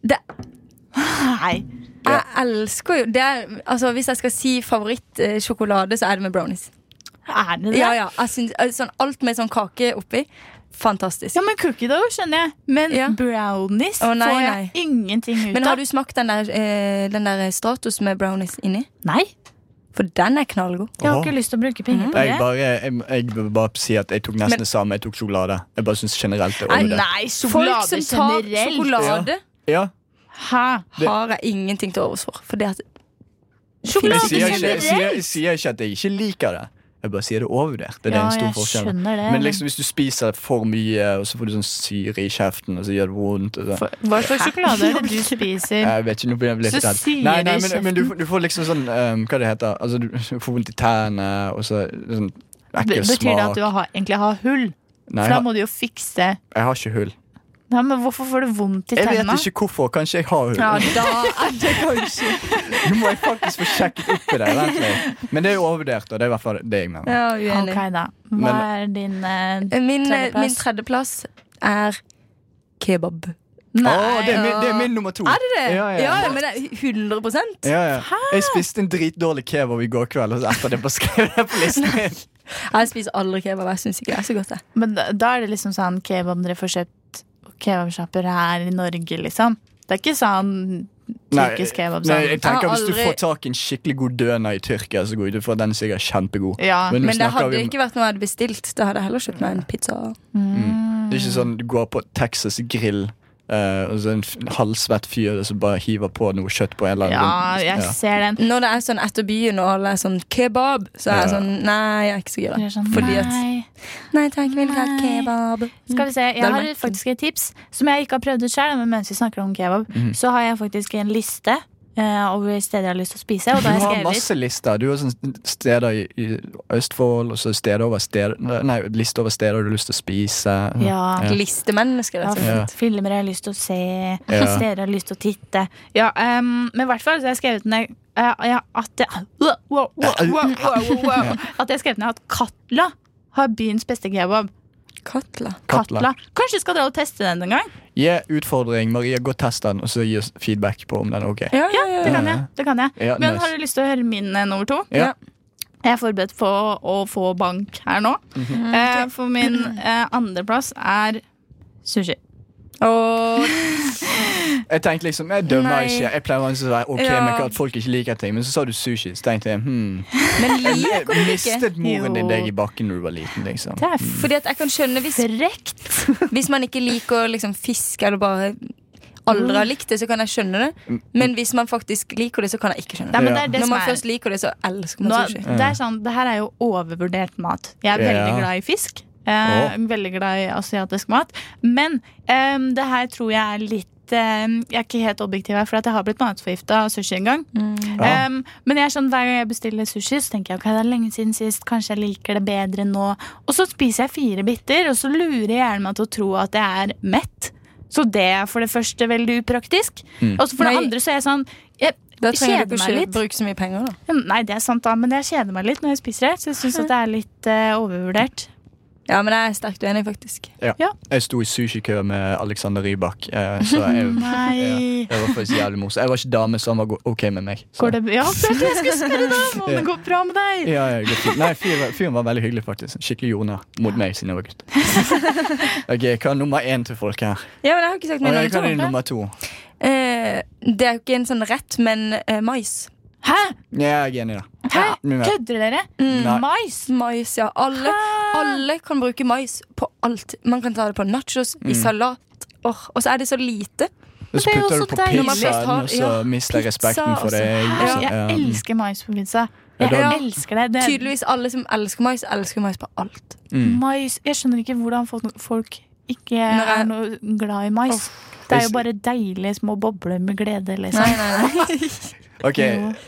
Det,
Nei.
jeg elsker jo det er, altså, Hvis jeg skal si favorittsjokolade, så er det med brownies.
Er det det?
Ja, ja, jeg syns, eh, sånn, alt med sånn kake oppi. Fantastisk.
Ja, men Cookie dough skjønner jeg, men
Ja.
brownies
Å, nei,
får jeg ingenting ut
Men
av.
har du smakt den der, eh, den der Stratos med brownies inni?
Nei,
For den er knallgod.
jeg har
Åh.
ikke lyst til å bruke penger på det.
Jeg, bare, jeg, jeg vil bare si at jeg tok nesten
Men-
det samme. Jeg tok sjokolade. Jeg bare syns generelt det er
Nei,
overvurdert.
nei,
Folk
sjokolade
som tar
generelt.
sjokolade,
Ja,
Hæ?
Det-
har jeg ingenting til overs for. For det at
jeg,
Sjokolade
sier ikke, jeg, sier,
generelt?
jeg sier ikke at jeg ikke liker det. Jeg bare sier det er overvurdert. Det er
Ja,
en stor
jeg
forskjell.
skjønner det.
Men liksom, hvis du spiser for mye, og så får du sånn syre i kjeften, og så gjør det vondt og sånn.
Hva slags sjokolade er det du spiser?
Jeg vet ikke, nå blir jeg litt
Så
redd.
sier
Nei,
det
nei,
i
men, men du, du får liksom sånn um, Hva det heter altså, Du du får vondt i tærne, og så sånn ekkel smak.
Betyr det at du har, egentlig har hull?
Nei,
For
jeg
da
har,
må du jo fikse
jeg har ikke hull.
ja, men Hvorfor får du vondt i
Jeg vet
tenna?
ikke hvorfor. Kanskje jeg har hull.
Ja, da
Nå må jeg faktisk få sjekket opp i det. Vent litt. Men det er jo overvurdert, og det er i hvert fall det jeg mener.
Ja, uenig.
Ok, da. Hva er din eh,
Min eh,
Tredjeplass.
min tredjeplass er kebab.
Å, det, er min, det er min nummer to.
Er det det?
Ja, ja.
ja men det er 100
Ja, ja. Jeg spiste en dritdårlig kebab i går kveld, og så etter det bare skrev jeg på listen min.
Jeg spiser aldri kebab. Jeg syns ikke det er så godt. Jeg.
Men da, da er det liksom sånn kebab dere får kjøpt kebabsjapper her i Norge, liksom. Det er ikke sånn
Nei,
tyrkisk kebab.
Nei,
Sånn.
jeg tenker
Jeg har
Hvis du
aldri-
får tak i en skikkelig god døner i Tyrkia, så går jeg ut ifra at den er sikkert kjempegod.
Ja.
Men nå
Men det
snakker
hadde
vi om
ikke vært noe jeg hadde bestilt. Da hadde jeg heller kjøpt meg en pizza.
Det er ikke sånn du går på Texas grill eh, og så en f- halvsvett fyr som bare hiver på noe kjøtt på en eller
ja,
annen
jeg
Ja.
ser den.
Når det er sånn etter byen, og alle er sånn kebab, så er jeg
Ja.
sånn Nei, jeg er ikke så gira.
Jeg er sånn,
Fordi at
nei.
Nei takk, vil ikke ha
Nei.
kebab.
Skal vi se, Jeg
er
har
merkelig.
faktisk et tips som jeg ikke har prøvd ut sjøl. Men mens vi snakker om kebab,
Mhm.
så har jeg faktisk en liste eh, over steder jeg har lyst til å spise. Og
Du
da har
har
jeg skrevet
masse lister. Du har sånn steder i, i Østfold, og så steder over steder Nei, liste over steder du har lyst til å spise.
Ja,
Mm.
Ja.
Listemennesker,
Ja,
rett og slett.
Ja.
Filmer jeg har lyst til å se,
Ja.
steder jeg har lyst til å titte. Ja, ehm, men i hvert fall så har jeg skrevet ned eh, ja, at det, wow, wow, wow, wow, wow, wow. At jeg har skrevet ned at Katla har byens beste kebab.
Katla.
Katla.
Katla. Kanskje vi skal dra og teste den en gang?
Gi utfordring. Maria, gå og test den, og så gi oss feedback på om den er ok.
Ja, ja, ja.
Det kan jeg. det kan jeg
Ja,
Men
nice.
har du lyst til å høre min eh, nummer to?
Ja.
Jeg er forberedt på å få bank her nå.
Mhm.
Eh, for min eh, andreplass er sushi.
Og
Jeg tenkte liksom, jeg dømmer
Nei.
ikke. Jeg pleier vanligvis å være ok
Ja.
med at folk ikke liker ting, men så sa du sushi. Så tenkte jeg hmm.
Men liker du ikke?
Mistet moren din
Jo.
deg i bakken da du var liten? liksom
Det er
Fordi at jeg kan skjønne hvis,
Mm.
frekt.
hvis man ikke liker liksom, fisk eller bare aldri
Mm.
har likt det, så kan jeg skjønne
Mm.
det. Men hvis man faktisk liker det, så kan jeg ikke skjønne
Nei,
det.
men
Ja.
det er det
Når
som
man
er
først liker det, så elsker
Nå,
man sushi.
det, er sånn, det her er jo overvurdert mat. Jeg er
Ja.
veldig glad i fisk. Eh,
Åh.
Veldig glad i asiatisk mat. Men em, det her tror jeg er litt em, Jeg er ikke helt objektiv her, for at jeg har blitt matforgifta av sushi en gang.
Mm.
Ja.
Em, men jeg er sånn, hver gang jeg bestiller sushi, så tenker jeg ok, det er lenge siden sist. Kanskje jeg liker det bedre nå. Og så spiser jeg fire biter, og så lurer jeg hjernen meg til å tro at jeg er mett. Så det er for det første veldig upraktisk.
Mm.
Og så for det
Nei.
andre så er jeg sånn jeg
Da trenger
kjeder
du
meg
ikke
litt.
bruke så mye penger, da.
Ja, Nei, det er sant, da, men jeg kjeder meg litt når jeg spiser det. Så jeg syns det er litt eh, overvurdert.
Ja, men jeg er sterkt uenig, faktisk.
Jeg sto i sushikø med Alexander Rybak. eh, Så jeg,
Nei.
Ja, det var faktisk jævlig morsomt. Jeg var ikke dame, så han var go- ok med meg. Så.
Går det Ja, det er det jeg skulle spørre deg om! Om det går bra med deg!
Ja, ja, det går fint. Nei, fyren fyren var veldig hyggelig, faktisk. Skikkelig jordnær mot meg siden jeg var gutt. Ok, Hva er nummer én til folk her?
Ja, men jeg har ikke
Og
sagt min
jeg kan
nummer
gi
to.
nummer to.
Eh, det er jo ikke en sånn rett, men eh, mais.
Hæ?
Ja, jeg er enig i det.
Hæ?
Men-
Kødder dere?
Nei.
Mais?
Mais, ja. Alle, alle kan bruke mais på alt. Man kan ta det på nachos,
Mm.
i salat. Åh, og så er det så lite.
Og så
det er jo
putter du
så
på
deilig.
pizzaen, og så
Ja,
mister jeg respekten
pizza,
for det.
Hæ?
Så,
Jeg
ja.
elsker mais på pizza.
eh, Ja,
Jeg
da-
elsker det. det er
Tydeligvis alle som elsker mais, elsker mais på alt.
Mm.
mais. Jeg skjønner ikke hvordan folk- folk ikke
Nei.
er noe glad i mais. Det er jo bare deilige små bobler med glede, liksom.
Nei, nei, nei.
Ok,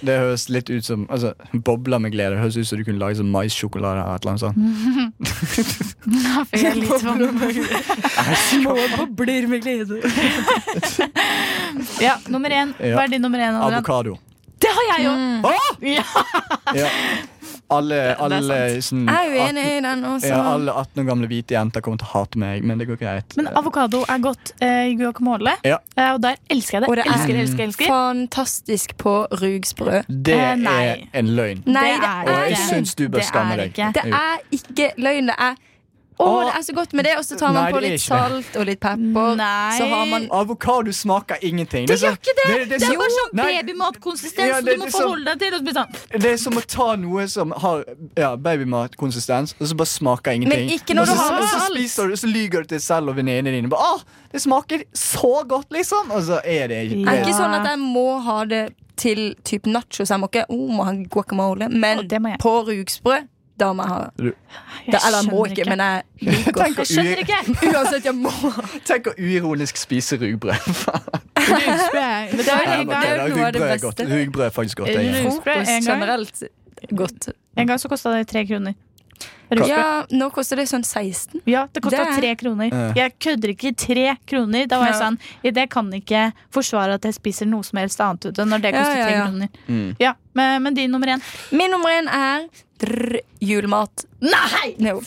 det høres litt ut som altså, Bobler med glede. Det høres ut som du kunne lage sånn maissjokolade eller et eller annet sånt.
Mm. Da fikk jeg litt vann.
Små bobler med glede.
Ja, nummer én.
Ja.
Hva er din nummer én? Adrian?
Avokado.
Det har jeg jo! Ja.
Ja. Alle, alle sånn
Jeg
18,
er uenig i den også.
ja, alle 18 år gamle hvite jenter kommer til å hate meg, men det går greit.
Men avokado er godt eh, i guacamole,
Ja.
eh, og der elsker jeg det.
Og det er-
elsker, elsker, elsker.
Fantastisk på rugsprø.
Det
Eh, nei.
er en løgn.
Nei,
Det
det
er
er,
Og jeg
ikke.
løgn.
syns du bør
Det
skamme
er
deg.
ikke.
Det er ikke løgn. Det er å,
Åh.
det er så godt med det, og så tar man
Nei, det er
på litt
ikke
salt og litt pepper.
Nei.
Så har man
Avokado smaker ingenting. Det,
gjør ikke det! Det,
er så-
er bare sånn
Nei,
babymatkonsistens,
Ja,
så
det- det er
du må
liksom- så-
forholde deg til og så blir det sånn.
det er som å ta noe som har ja, babymatkonsistens, og så bare smaker ingenting.
Men ikke når
Og så-
du har med
og så
salt.
spiser du, så lyger du til selv og venninnene dine. Bare, ah, 'Det smaker så godt', liksom. Og så er det ikke
Det er
Ja.
ikke sånn at jeg må ha det til typ nachos. Jeg må ikke oh, må ha guacamole. Men
Å, det må jeg.
på rugsprø, da må jeg ha det.
Jeg
Eller jeg må
skjønner
ikke, men jeg
Tenk
liker
å
Jeg skjønner
u-
ikke!
Uansett, jeg må.
Tenk å uironisk spise rugbrød.
Men det er
Ja,
en
men det
gang,
er
noe av det
Rugbrød er godt.
beste.
Rugbrød er faktisk godt. Jeg, er enig.
Rugsprø
Frokost
en gang.
generelt godt.
en gang så kosta det tre kroner.
Ja, nå koster det sånn 16.
Ja, det kosta
Det er-
tre kroner.
Ja.
Jeg kødder ikke. Tre kroner. Da var jeg
Ja.
sånn "Ja, Det kan ikke forsvare at jeg spiser noe som helst annet ute når det
Ja,
koster
ja,
tre
ja.
kroner.
Mm.
Ja, men, men din nummer én.
Min nummer én er drr, julemat.
Nei!
No.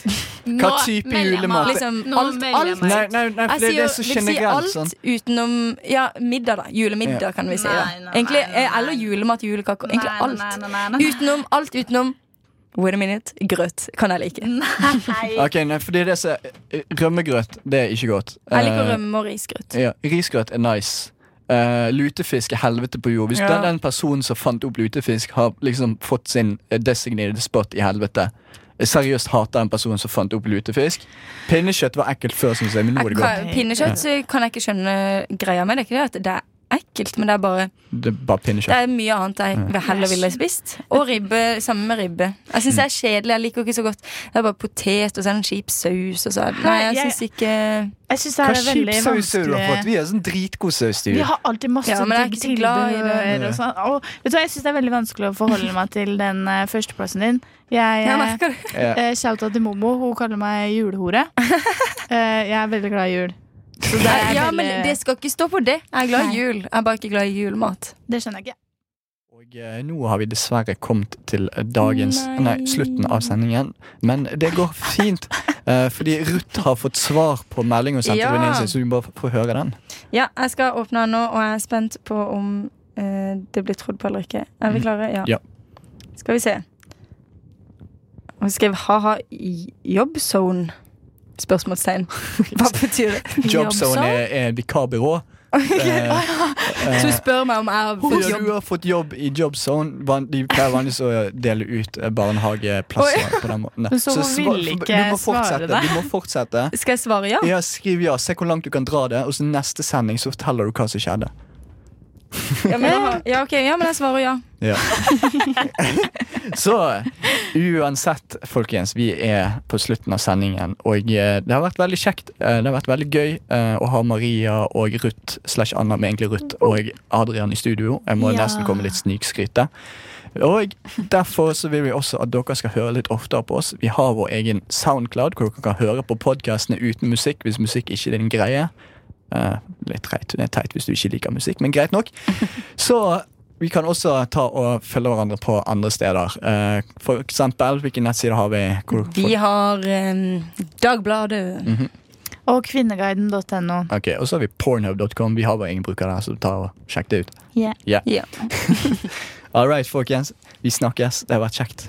Hva type julemat?
Liksom
Nå
alt,
melder jeg
alt.
meg.
Nei, nei, nei for det,
Jeg
det
sier,
er så
vil si
generelt.
alt
Sånn.
utenom ja, middag, da. Julemiddag,
Ja.
kan vi si.
Nei,
da
nei, nei,
Egentlig,
nei, nei.
Eller julemat, julekaker. Egentlig alt.
Nei, nei, nei, nei, nei.
Utenom, alt utenom Wait a minute. Grøt kan jeg like.
Ok, nei, fordi det som Rømmegrøt, det er ikke godt.
Jeg liker
Eh,
rømme og risgrøt.
Ja, risgrøt er nice. Eh, lutefisk er helvete på jord. Hvis
Ja.
den, den personen som fant opp lutefisk, har liksom fått sin eh, designated spot i helvete. Jeg Seriøst hater den personen som fant opp lutefisk. Pinnekjøtt var ekkelt før, synes jeg, men nå er
Jeg
det godt.
kan- Pinnekjøtt så kan jeg ikke skjønne greia med. Det er ikke det at det er ekkelt, men det er bare
Det er bare
Det
pinnekjøtt.
er mye annet jeg vil- heller ville spist. Og ribbe. Samme med ribbe. Jeg syns
Mm.
det er kjedelig. Jeg liker ikke så godt. Det er bare potet og så er det en kjip saus og så er det Nei, jeg
Nei, jeg-
syns ikke
Jeg syns det
Hva kjip
er veldig
saus er det du har fått?
vanskelig.
Vi har sånn dritgod saus til
Vi
jul.
har alltid masse
Ja, men jeg er
digg
ikke så glad i det.
tilbehør og sånn. Og, vet du hva, jeg syns det er veldig vanskelig å forholde meg til den eh, førsteplassen din. Jeg,
Jeg
eh,
merker det.
Ja.
eh, Shouta til Momo. Hun kaller meg julehore. Eh, jeg er veldig glad i jul. Så det, er
Ja,
veldig,
men det skal ikke stå på det. Jeg er glad i
Nei.
jul. Jeg er bare ikke glad i julemat.
det skjønner jeg ikke.
Og eh, nå har vi dessverre kommet til eh, dagens nei.
Nei.
slutten av sendingen. Men det går fint, eh, fordi Ruth har fått svar på melding hun sendte
Ja.
til venninnen sin, så vi må bare få høre den.
Ja, jeg skal åpne den nå, og jeg er spent på om eh, det blir trodd på eller ikke. Er vi
Mm.
klare? Mhm. Ja.
Ja.
Skal vi se. Hun skrev ha-ha i jobbzone. Spørsmålstegn. Hva betyr det?
Jobzone er, er vikarbyrå. Eh,
Så hun spør meg om jeg har fått
Hvor
jobb.
du har fått jobb i Jobzone. Van- De pleier vanligvis å dele ut eh, barnehageplasser på den måten.
Men så hun
svar-
ville ikke
du må
svare
fortsette,
deg.
Du må fortsette.
Skal jeg svare ja?
Ja, skriv ja. Se hvor langt du kan dra det, og så neste sending så forteller du hva som skjedde.
Ja, men, da- ja, ok, ja, men jeg svarer ja.
Ja. så uansett, folkens, vi er på slutten av sendingen, og eh, det har vært veldig kjekt. eh, Det har vært veldig gøy eh, å ha Maria og Ruth slash Anna, men egentlig Ruth, og Adrian i studio. Jeg må
Ja.
nesten komme med litt snikskryte. Og derfor så vil vi også at dere skal høre litt oftere på oss. Vi har vår egen Soundcloud, hvor dere kan høre på podkastene uten musikk hvis musikk ikke er din greie. Eh, litt teit, det er teit hvis du ikke liker musikk, men greit nok. Så vi kan også ta og følge hverandre på andre steder. Eh, For eksempel, hvilke nettsider har vi? Hvor,
Vi har eh, Dagbladet.
Og kvinneguiden.no.
Ok, Og så har vi pornhub.com. Vi har vår egen bruker der, så ta og sjekk det ut.
Yeah.
Yeah.
Ja.
All right, folkens. Vi snakkes. Det har vært kjekt.